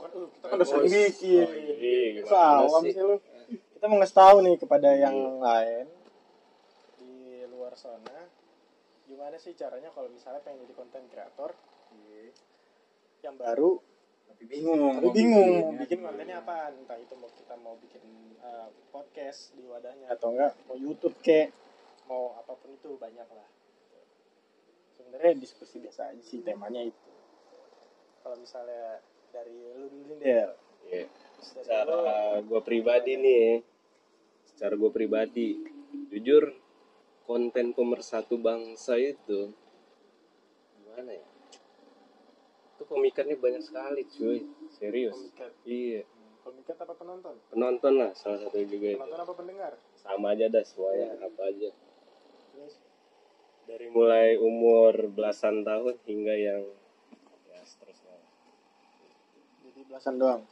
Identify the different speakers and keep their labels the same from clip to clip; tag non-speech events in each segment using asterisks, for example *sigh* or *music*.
Speaker 1: udah
Speaker 2: Bos.
Speaker 1: sedikit.
Speaker 2: Oh, ini gimana
Speaker 1: Salam
Speaker 2: sih?
Speaker 1: iya, sih lu. Kita mau ngasih tahu nih kepada yang lain Iya. di luar sana gimana sih caranya kalau misalnya pengen jadi konten kreator yang baru
Speaker 3: Tapi
Speaker 1: bingung, Iya. tapi
Speaker 3: mau
Speaker 1: bingung
Speaker 3: bikin
Speaker 1: mau
Speaker 3: ya.
Speaker 1: bikin kontennya apa entah itu mau kita mau bikin eh, podcast di wadahnya atau enggak mau YouTube kek mau apapun itu banyak lah sebenarnya diskusi biasa aja sih temanya itu kalau misalnya dari lu dulu nih Del
Speaker 2: Iya.
Speaker 1: Terus dari lu,
Speaker 2: secara gue pribadi nih secara gue pribadi jujur konten pemersatu bangsa itu gimana ya itu komikannya banyak sekali cuy serius
Speaker 1: pemikat
Speaker 2: iya
Speaker 1: pemikat apa penonton
Speaker 2: penonton lah salah satu juga itu
Speaker 1: penonton apa pendengar
Speaker 2: sama aja dah semuanya apa aja
Speaker 1: Terus,
Speaker 2: dari mulai umur belasan tahun hingga yang ya seterusnya
Speaker 1: jadi belasan doang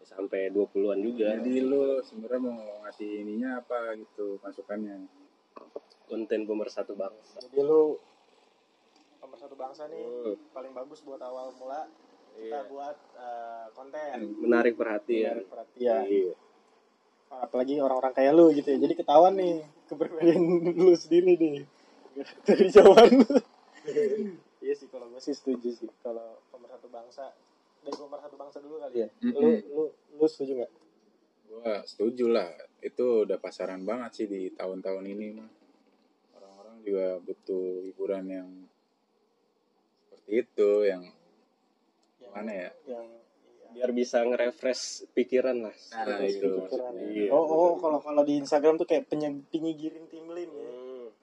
Speaker 2: Ya, sampai 20-an juga
Speaker 3: Jadi lu sebenarnya mau ngasih ininya apa gitu masukannya?
Speaker 2: konten pemersatu bangsa
Speaker 1: jadi lu pemersatu bangsa nih
Speaker 3: Oh,
Speaker 1: paling bagus buat awal mula kita
Speaker 3: iya.
Speaker 1: buat eh, konten
Speaker 2: menarik perhatian
Speaker 1: menarik perhatian
Speaker 2: iya.
Speaker 1: apalagi orang-orang kayak lu gitu ya jadi ketahuan nih keberbedaan *laughs* lu sendiri nih dari jawaban lu iya sih kalau gue sih setuju sih kalau pemersatu bangsa dari pemersatu bangsa dulu kali ya lu
Speaker 3: Mm-mm.
Speaker 1: lu lu setuju nggak
Speaker 3: Gua setuju lah. Itu udah pasaran banget sih di tahun-tahun ini mah. Orang-orang juga butuh hiburan yang seperti itu, yang
Speaker 1: yang
Speaker 3: mana ya?
Speaker 1: yang iya.
Speaker 2: biar bisa nge-refresh pikiran lah
Speaker 3: Nah,
Speaker 2: Seperti
Speaker 3: itu
Speaker 1: Pikiran ya.
Speaker 2: Iya.
Speaker 1: oh oh kalau kalau di Instagram tuh kayak penye- penyigirin tim lim ya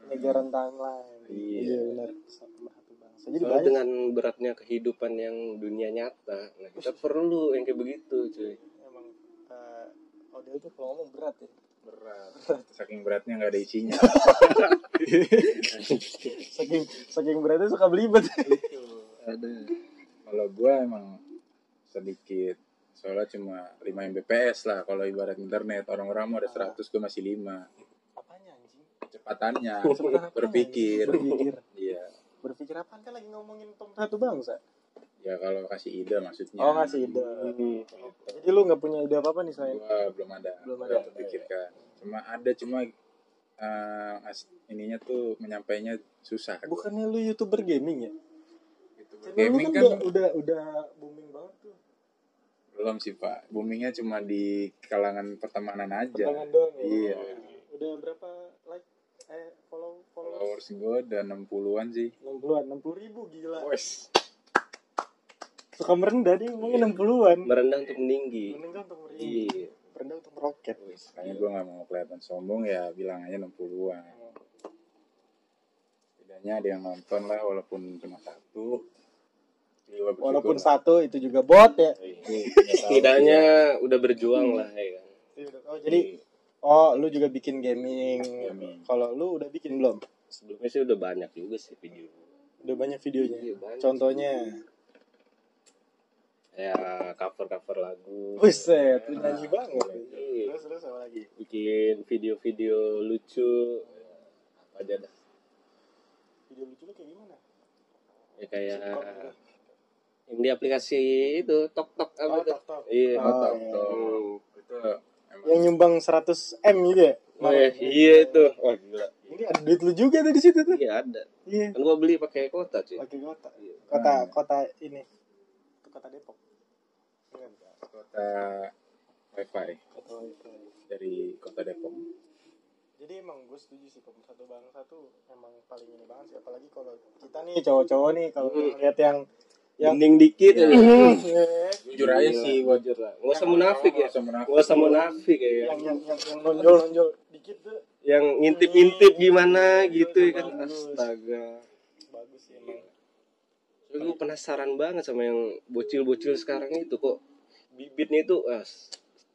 Speaker 2: Hmm.
Speaker 1: penyegaran timeline
Speaker 3: Iya.
Speaker 1: benar pemersatu bangsa jadi
Speaker 2: Soalnya
Speaker 1: banyak
Speaker 2: dengan beratnya kehidupan yang dunia nyata nah kita perlu yang kayak begitu cuy
Speaker 1: emang eh Odell tuh kalau ngomong berat ya
Speaker 3: Berat. Saking beratnya nggak ada isinya.
Speaker 1: saking saking beratnya suka belibet
Speaker 3: ada. Kalau gua emang sedikit soalnya cuma 5 Mbps lah kalau ibarat internet orang-orang mau ada 100 gua masih
Speaker 1: apanya
Speaker 3: 5
Speaker 1: anjing
Speaker 3: kecepatannya
Speaker 1: Sebenarnya apa
Speaker 3: berpikir
Speaker 1: nih? berpikir
Speaker 3: iya
Speaker 1: berpikir apaan kan lagi ngomongin pemersatu bangsa
Speaker 3: ya kalau kasih ide maksudnya
Speaker 1: oh ngasih ide jadi lu nggak punya ide apa apa nih selain
Speaker 3: gua belum ada
Speaker 1: Belum
Speaker 3: belum
Speaker 1: ada.
Speaker 3: ada terpikirkan cuma ada cuma eh, as- ininya tuh menyampainya susah
Speaker 1: Eh, bukannya lu youtuber gaming ya
Speaker 3: Gitu.
Speaker 1: channel lu
Speaker 3: gaming
Speaker 1: kan,
Speaker 3: kan
Speaker 1: udah, udah udah booming banget tuh
Speaker 3: belum sih pak boomingnya cuma di kalangan pertemanan aja
Speaker 1: pertengahan doang ya
Speaker 3: Iya.
Speaker 1: udah berapa like eh follow followers
Speaker 3: followers gua udah 60-an sih
Speaker 1: enam puluhan enam puluh ribu gila
Speaker 3: Wes. Iya.
Speaker 1: suka merendah dia ngomongin enam puluhan
Speaker 2: merendah untuk meninggi
Speaker 1: merendah untuk merendah
Speaker 2: iya
Speaker 1: kan merendah untuk meroket
Speaker 3: Makanya gue gak mau kelihatan sombong ya bilang aja 60-an. Setidaknya ada yang nonton lah walaupun cuma satu. Gua bersyukur
Speaker 1: walaupun
Speaker 3: lah.
Speaker 1: satu itu juga bot ya
Speaker 3: *laughs*
Speaker 2: setidaknya udah berjuang lah ya kan
Speaker 1: oh jadi oh lu juga bikin gaming,
Speaker 3: Gaming.
Speaker 1: kalau lu udah bikin belum
Speaker 2: sebelumnya sih udah banyak juga sih video
Speaker 1: udah banyak videonya
Speaker 2: Iya, banyak.
Speaker 1: contohnya
Speaker 2: ya cover cover lagu
Speaker 1: Buset, lu nyanyi banget.
Speaker 2: Iya.
Speaker 1: Terus terus apa lagi?
Speaker 2: bikin video-video lucu apa aja dah
Speaker 1: Video lucu lu kayak gimana?
Speaker 2: ya kayak
Speaker 1: Sitcom gitu.
Speaker 2: yang di aplikasi itu tok tok
Speaker 1: Oh,
Speaker 2: apa tuh?
Speaker 1: tok tok.
Speaker 2: iya
Speaker 1: Oh,
Speaker 3: Mantap
Speaker 1: iya.
Speaker 3: dong. Itu emang
Speaker 1: Yang nyumbang 100 M gitu ya?
Speaker 2: Oh, iya, iya itu wah gila
Speaker 1: Ini ada duit lu juga tuh di situ tuh.
Speaker 2: iya ada
Speaker 1: Iya.
Speaker 2: kan gua beli pakai kota cuy
Speaker 1: Pakai kota.
Speaker 2: Iya.
Speaker 1: Kota kota ini. Itu kota Depok. Iya, Keren.
Speaker 3: kota wifi
Speaker 1: Kota itu.
Speaker 3: dari kota Depok.
Speaker 1: Jadi emang gue setuju sih pemersatu bangsa tuh emang paling ini banget sih apalagi kalau kita nih cowok-cowok nih kalau
Speaker 2: Hmm.
Speaker 1: lihat yang yang
Speaker 2: Mending dikit ya.
Speaker 3: Iya.
Speaker 1: Iya.
Speaker 3: Jujur aja
Speaker 2: Gila.
Speaker 3: sih gua jujur
Speaker 2: Gak usah munafik
Speaker 3: Gak
Speaker 2: ya.
Speaker 3: usah munafik.
Speaker 2: Gak usah munafik ya.
Speaker 1: yang yang yang, yang nonjol-nonjol dikit tuh
Speaker 2: Yang ngintip-ngintip gimana gitu ya kan. Astaga.
Speaker 1: bagus sih emang.
Speaker 2: Gue penasaran banget sama yang bocil-bocil sekarang itu kok bibitnya itu ah,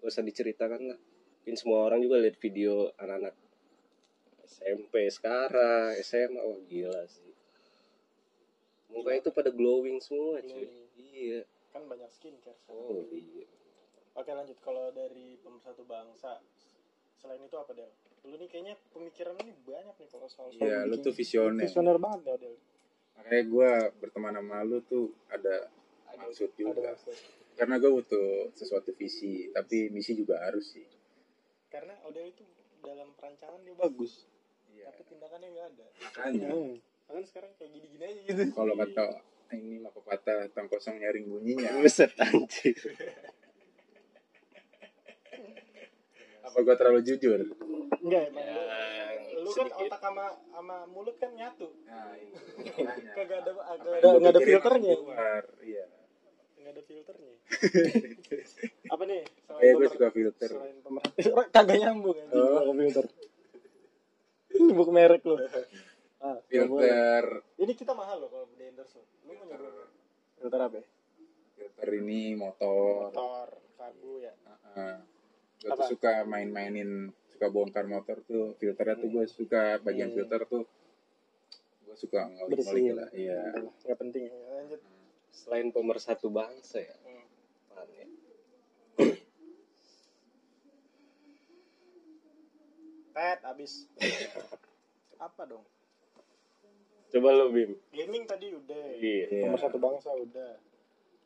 Speaker 2: gak usah diceritakan lah. Mungkin semua orang juga lihat video anak-anak SMP sekarang, SMA, wah gila sih. Muka itu pada glowing semua cuy. Iya.
Speaker 1: Kan banyak skincare.
Speaker 2: Oh iya.
Speaker 1: Oke lanjut kalau dari pemersatu bangsa selain itu apa Del? Lu nih kayaknya pemikiran lu nih banyak nih kalau soal soal
Speaker 3: Iya, lu
Speaker 1: bikin-
Speaker 3: tuh visioner.
Speaker 1: visioner banget ya Del.
Speaker 3: Makanya gua berteman sama lu tuh ada maksud juga.
Speaker 1: Ada-
Speaker 3: Gak karena gue butuh sesuatu visi tapi misi juga harus sih
Speaker 1: karena Odell itu dalam perancangan dia bagus
Speaker 3: iya
Speaker 1: tapi tindakannya nggak ada
Speaker 3: makanya
Speaker 1: kan sekarang kayak gini-gini aja gitu
Speaker 3: kalau kata ini mah pepatah tong kosong nyaring bunyinya
Speaker 1: *laughs*
Speaker 2: Buset anjir.
Speaker 3: apa gue terlalu jujur
Speaker 1: enggak emang
Speaker 2: Ya,
Speaker 1: lu, lu kan
Speaker 2: sedikit.
Speaker 1: otak sama sama mulut kan nyatu
Speaker 3: nah, itu
Speaker 1: kagak ada
Speaker 3: Apa
Speaker 1: kagak
Speaker 3: yang
Speaker 1: ada
Speaker 3: gua
Speaker 1: nggak ada
Speaker 3: pikirin
Speaker 1: filternya
Speaker 3: langsung keluar. iya
Speaker 1: nggak ada
Speaker 3: *laughs*
Speaker 1: filternya apa nih selain
Speaker 3: eh gue
Speaker 1: pemer-
Speaker 3: suka filter
Speaker 1: selain pemerhati Orang kagak nyambung kan
Speaker 3: Oh.
Speaker 1: *laughs* filter ini buku merek
Speaker 3: *laughs*
Speaker 1: lo ah, nggak boleh.
Speaker 3: filter
Speaker 1: ini kita mahal loh kalau di endorse lo lu mau nyebut
Speaker 3: Filter.
Speaker 1: filter apa ya?
Speaker 3: filter ini motor
Speaker 1: motor karbu ya
Speaker 3: gue
Speaker 1: Apa?
Speaker 3: tuh suka main-mainin suka bongkar motor tuh filternya tuh gue suka
Speaker 1: Hmm.
Speaker 3: bagian filter tuh gue suka
Speaker 1: Bersihin.
Speaker 3: ngulik-ngulik lah iya
Speaker 1: nggak penting ya lanjut
Speaker 2: Selain pemersatu bangsa ya.
Speaker 1: Hmm.
Speaker 2: Apaan ya?
Speaker 1: pet
Speaker 3: *laughs*
Speaker 1: abis apa dong
Speaker 2: Coba lo Bim.
Speaker 1: gaming tadi udah
Speaker 2: Iya.
Speaker 3: Iya.
Speaker 1: nomor satu bangsa udah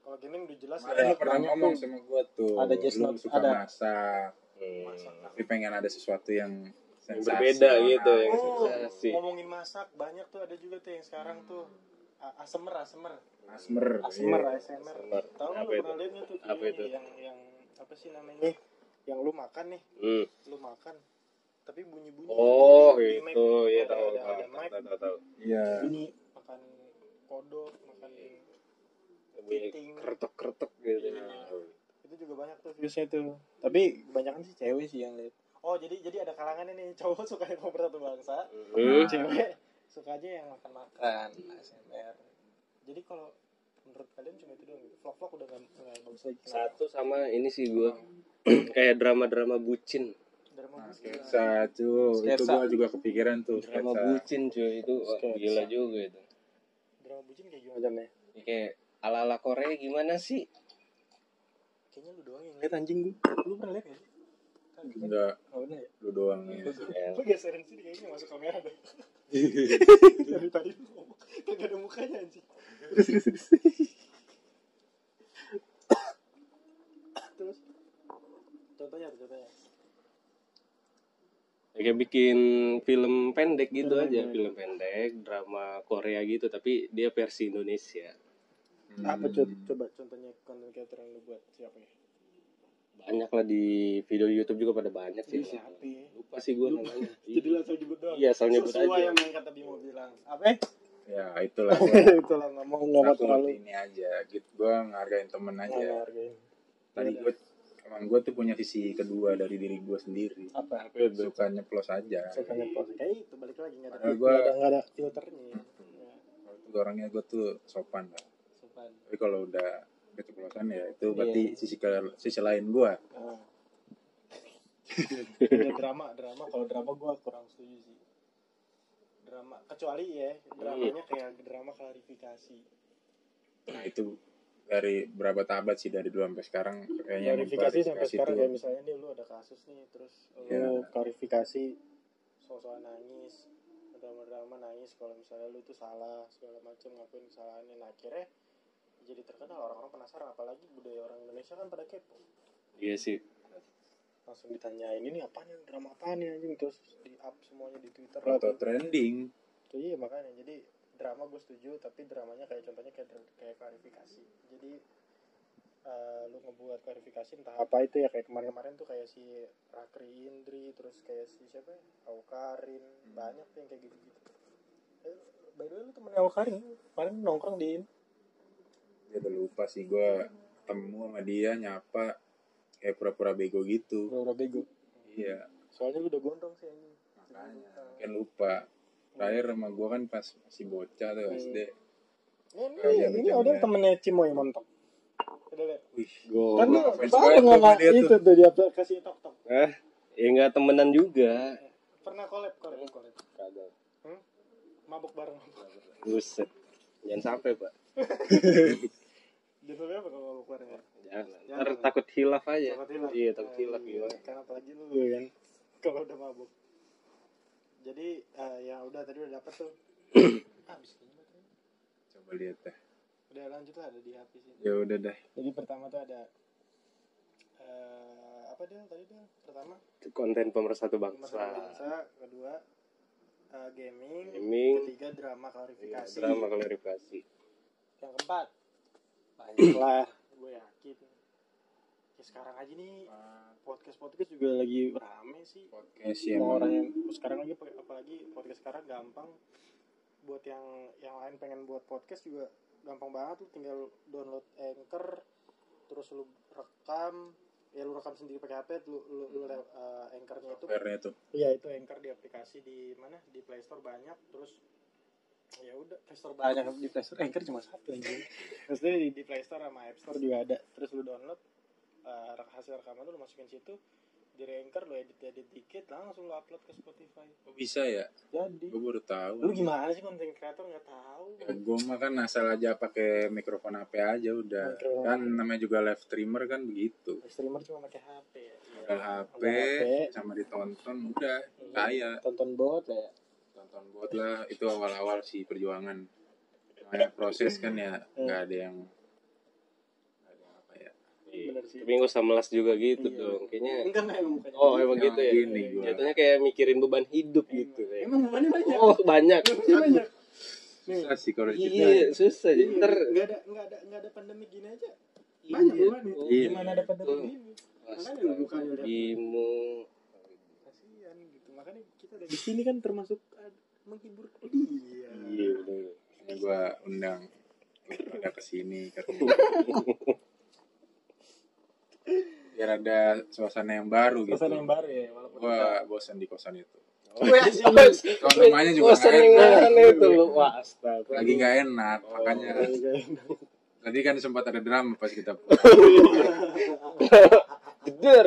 Speaker 1: kalau gaming udah jelas
Speaker 3: Kemarin
Speaker 1: ya,
Speaker 3: lu pernah
Speaker 1: banyak
Speaker 3: ngomong
Speaker 1: tuh.
Speaker 3: sama gue tuh
Speaker 1: Ada just
Speaker 3: lu
Speaker 1: not-
Speaker 3: suka
Speaker 1: ada.
Speaker 3: masak
Speaker 2: Hmm.
Speaker 3: tapi pengen ada sesuatu yang
Speaker 2: Yang
Speaker 3: sensasi
Speaker 2: berbeda gitu yang
Speaker 1: Oh,
Speaker 2: sensasi.
Speaker 1: ngomongin masak banyak tuh ada juga tuh yang sekarang tuh A- asemer asemer
Speaker 3: asmer
Speaker 1: asemer
Speaker 3: iya.
Speaker 1: ASMR
Speaker 2: Asemer.
Speaker 1: tahu nggak
Speaker 2: Apa
Speaker 1: lu
Speaker 2: itu?
Speaker 1: pernah lihat nggak tuh
Speaker 2: Apa
Speaker 1: ini
Speaker 2: itu?
Speaker 1: yang yang apa sih namanya yang lu makan nih
Speaker 2: Hmm.
Speaker 1: lu makan tapi bunyi bunyi
Speaker 2: Oh itu ya tahu
Speaker 1: ada,
Speaker 2: tahu
Speaker 1: ada mic
Speaker 2: tahu tahu, tahu.
Speaker 3: iya
Speaker 1: bunyi makan kodok makan
Speaker 2: Bunyi
Speaker 1: Fitting.
Speaker 2: kertok-kertok gitu.
Speaker 1: Iya. itu juga banyak tuh viewsnya tuh tapi kebanyakan sih cewek sih yang lihat oh jadi jadi ada kalangan ini cowok suka yang satu bangsa
Speaker 2: Hmm.
Speaker 1: cewek sukanya yang makan-makan ASMR jadi kalau menurut kalian cuma itu doang gitu vlog-vlog udah gak, nggak bagus lagi
Speaker 2: Satu sama ini sih gua *clears throat* kayak drama-drama bucin.
Speaker 1: drama kan?
Speaker 3: Nah,
Speaker 1: bagus gila.
Speaker 3: sketsa tuh itu
Speaker 1: Sketsa.
Speaker 3: gue juga kepikiran tuh
Speaker 2: Drama
Speaker 3: sketsa.
Speaker 2: bucin cuy itu wah,
Speaker 1: Sketsa.
Speaker 2: gila juga itu.
Speaker 1: drama bucin kayak gimana jamnya
Speaker 2: Ya, Kayak ala-ala Korea gimana sih?
Speaker 1: kayaknya lu doang yang lihat anjing gue lu pernah lihat gak sih Kagak.
Speaker 3: enggak
Speaker 1: Kan gitu. Nggak pernah ya
Speaker 3: lu doang ya
Speaker 2: Ya,
Speaker 1: lu geserin sini kayaknya masuk kamera *laughs* deh dari tadi lu ngomong kagak ada mukanya anjing terus contohnya apa contohnya
Speaker 2: kayak bikin film pendek gitu
Speaker 1: Film
Speaker 2: aja
Speaker 1: pendek.
Speaker 2: film pendek drama Korea gitu tapi dia versi Indonesia
Speaker 1: apa
Speaker 3: Hmm.
Speaker 1: coba, coba contohnya konten creator yang lu buat siapa ya
Speaker 2: banyak lah di video YouTube juga pada banyak sih
Speaker 1: Ih, siapa ya
Speaker 2: lupa sih gue
Speaker 1: Lupa. *laughs*
Speaker 2: namanya
Speaker 1: jadi langsung nyebut doang
Speaker 2: iya asal nyebut
Speaker 1: sesuai yang
Speaker 2: aja
Speaker 1: yang kata Bimo bilang apa
Speaker 2: *laughs*
Speaker 3: ya itulah
Speaker 1: *laughs* itu lah nggak mau nggak mau
Speaker 3: Aku
Speaker 1: terlalu Nah,
Speaker 3: ini aja gitu gue ngargain temen aja
Speaker 2: Iya.
Speaker 1: menghargain
Speaker 3: tadi
Speaker 1: iya,
Speaker 3: gue emang gue tuh punya visi kedua dari diri gue sendiri
Speaker 1: apa Iya,
Speaker 3: suka nyeplos aja
Speaker 1: saya tanya pos kayak itu balik lagi nggak ada
Speaker 3: Padahal
Speaker 1: nggak
Speaker 3: gua-
Speaker 1: ada nggak ada filternya
Speaker 2: Hmm.
Speaker 1: ya,
Speaker 3: Kalau itu orangnya gue tuh sopan lah
Speaker 1: sopan
Speaker 3: tapi kalau udah keceplosan ya itu berarti
Speaker 1: Iya.
Speaker 3: sisi ke- sisi lain gue
Speaker 2: *laughs*
Speaker 1: Ah. ada drama drama kalau drama gue kurang setuju sih drama kecuali ya dramanya
Speaker 2: Iya.
Speaker 1: kayak drama klarifikasi
Speaker 3: nah itu dari berapa tabat sih dari dulu sampai sekarang kayaknya
Speaker 1: klarifikasi sampai
Speaker 3: mengklarifikasi
Speaker 1: sekarang
Speaker 3: tuh.
Speaker 1: ya misalnya nih lu ada kasus nih terus lu
Speaker 3: Ya.
Speaker 1: klarifikasi soal nangis drama-drama nangis kalau misalnya lu itu salah segala macam ngakuin kesalahannya nah akhirnya jadi terkenal orang-orang penasaran apalagi budaya orang Indonesia kan pada kepo
Speaker 2: iya sih
Speaker 1: langsung ditanyain ini apaan nih drama apaan nih anjing terus di up semuanya di Twitter lah
Speaker 3: Foto
Speaker 1: tuh.
Speaker 3: trending
Speaker 1: Tuh, iya makanya jadi drama gue setuju tapi dramanya kayak contohnya kayak kayak klarifikasi jadi eh, lu ngebuat klarifikasi entah apa itu ya kayak kemarin-kemarin tuh kayak si Rakri Indri terus kayak si siapa ya Aukarin banyak tuh yang kayak gitu-gitu eh, by the way lu temennya Aukarin kemarin nongkrong di
Speaker 3: dia udah lupa sih gue temu sama dia nyapa kayak pura-pura bego gitu
Speaker 1: Bro Bego
Speaker 3: iya
Speaker 1: soalnya lu udah gondrong sih anjing
Speaker 3: makanya mungkin lupa terakhir sama gue kan pas masih bocah tuh
Speaker 1: Hmm.
Speaker 3: SD
Speaker 1: Eh, ini,
Speaker 3: Kalau dia
Speaker 1: ini
Speaker 3: bercanda.
Speaker 1: udah temennya Cimoy mantap Udah, Le.
Speaker 3: wih
Speaker 2: gue
Speaker 1: kan lu
Speaker 3: fans
Speaker 1: baru
Speaker 3: banget gua sama
Speaker 1: nggak
Speaker 3: dia
Speaker 1: itu tuh di aplikasi tok tok
Speaker 2: eh ya nggak temenan juga
Speaker 1: pernah collab collab collab
Speaker 2: Kagak.
Speaker 1: mabuk bareng
Speaker 2: buset jangan sampai pak
Speaker 1: judulnya apa kalau mabuk bareng ya
Speaker 2: jangan
Speaker 1: Jangan.
Speaker 2: ntar takut hilaf aja
Speaker 1: takut hilang
Speaker 2: iya takut hilaf gila
Speaker 1: kan apalagi lu kan kalau udah mabuk
Speaker 2: *coughs*
Speaker 1: jadi eh, ya udah Ah, tadi udah dapet tuh habis kayaknya baterainya.
Speaker 3: coba lihat deh
Speaker 1: udah lanjut lah ada di HP sih
Speaker 3: ya
Speaker 2: Iya.
Speaker 3: udah dah
Speaker 1: jadi pertama tuh ada eh apa Del tadi Del pertama
Speaker 2: konten
Speaker 1: pemersatu
Speaker 2: pemersatu bangsa
Speaker 1: bangsa kedua eh, gaming,
Speaker 2: Gaming. Iya,
Speaker 1: ketiga drama klarifikasi
Speaker 2: drama klarifikasi
Speaker 1: yang keempat banyak *clears throat* lah gue yakin ya sekarang aja nih podcast podcast juga lagi rame sih
Speaker 3: podcast ya
Speaker 1: Semua orang yang sekarang lagi apalagi podcast sekarang gampang buat yang yang lain pengen buat podcast juga gampang banget lu tinggal download anchor terus lu rekam ya lu rekam sendiri pakai HP lu lu, lu lew- eh, anchornya itu
Speaker 3: software tuh
Speaker 1: Iya itu Anchor di aplikasi di mana di Play Store banyak terus ya udah Play Store banyak di Play Store Anchor cuma satu aja. *laughs* Maksudnya di, di Play Store sama App Store juga ada. Terus lu download eh, rek- hasil rekaman lu, lu masukin situ di Anchor lu edit edit dikit langsung lu upload ke Spotify.
Speaker 3: oh bisa ya
Speaker 1: Jadi
Speaker 3: gue baru tahu
Speaker 1: lu gimana sih konten kreator nggak tahu?
Speaker 3: gue mah kan asal aja pakai mikrofon HP aja udah
Speaker 1: Mikrofon.
Speaker 3: kan namanya juga live streamer kan begitu
Speaker 1: Streamer cuma pakai HP. ya.
Speaker 3: Modal HP
Speaker 1: Modal
Speaker 3: sama ditonton udah saya
Speaker 1: Tonton bot lah ya.
Speaker 3: tonton buat lah itu awal-awal sih perjuangan namanya proses kan ya
Speaker 2: Hmm.
Speaker 3: nggak ada yang nggak ada yang apa ya
Speaker 1: Bener sih.
Speaker 2: Iya. tapi gak usah melas juga gitu
Speaker 1: Iya.
Speaker 2: dong kayaknya
Speaker 1: Enggak enggak emang bukannya.
Speaker 2: oh emang
Speaker 3: Nah,
Speaker 2: gitu ya
Speaker 3: gini gua.
Speaker 2: jatuhnya kayak mikirin beban hidup gitu kayak.
Speaker 1: Emang bebannya banyak.
Speaker 2: oh banyak
Speaker 1: Bebannya banyak. Nih,
Speaker 3: susah sih kalau
Speaker 2: iya
Speaker 3: diceritain
Speaker 2: susah jadi
Speaker 1: Iya,
Speaker 2: ntar
Speaker 1: nggak ada nggak ada nggak ada pandemi gini aja banyak
Speaker 2: Iya.
Speaker 1: beban
Speaker 2: Oh,
Speaker 3: Iya.
Speaker 1: gimana ada pandemi
Speaker 2: Betul.
Speaker 1: gini Makanya lu bukan
Speaker 2: Astaga,
Speaker 1: udah-
Speaker 2: bingung
Speaker 1: kasihan gitu makanya kita dari di sini kan termasuk uh, menghibur dia
Speaker 2: iya bener.
Speaker 3: ini gue undang ada kesini katanya.
Speaker 2: *laughs*
Speaker 3: biar ada suasana yang baru gitu
Speaker 1: pesan yang baru ya walaupun
Speaker 3: gue bosan di kosan itu
Speaker 1: Wih,
Speaker 2: Oh,
Speaker 1: anjing.
Speaker 3: Kalau namanya Iya, juga
Speaker 2: Bosen
Speaker 3: nggak
Speaker 2: yang
Speaker 3: enak.
Speaker 2: mana itu lu? Wah, astaga.
Speaker 3: lagi nggak enak makanya tadi kan sempat ada drama pas kita
Speaker 2: Jeder.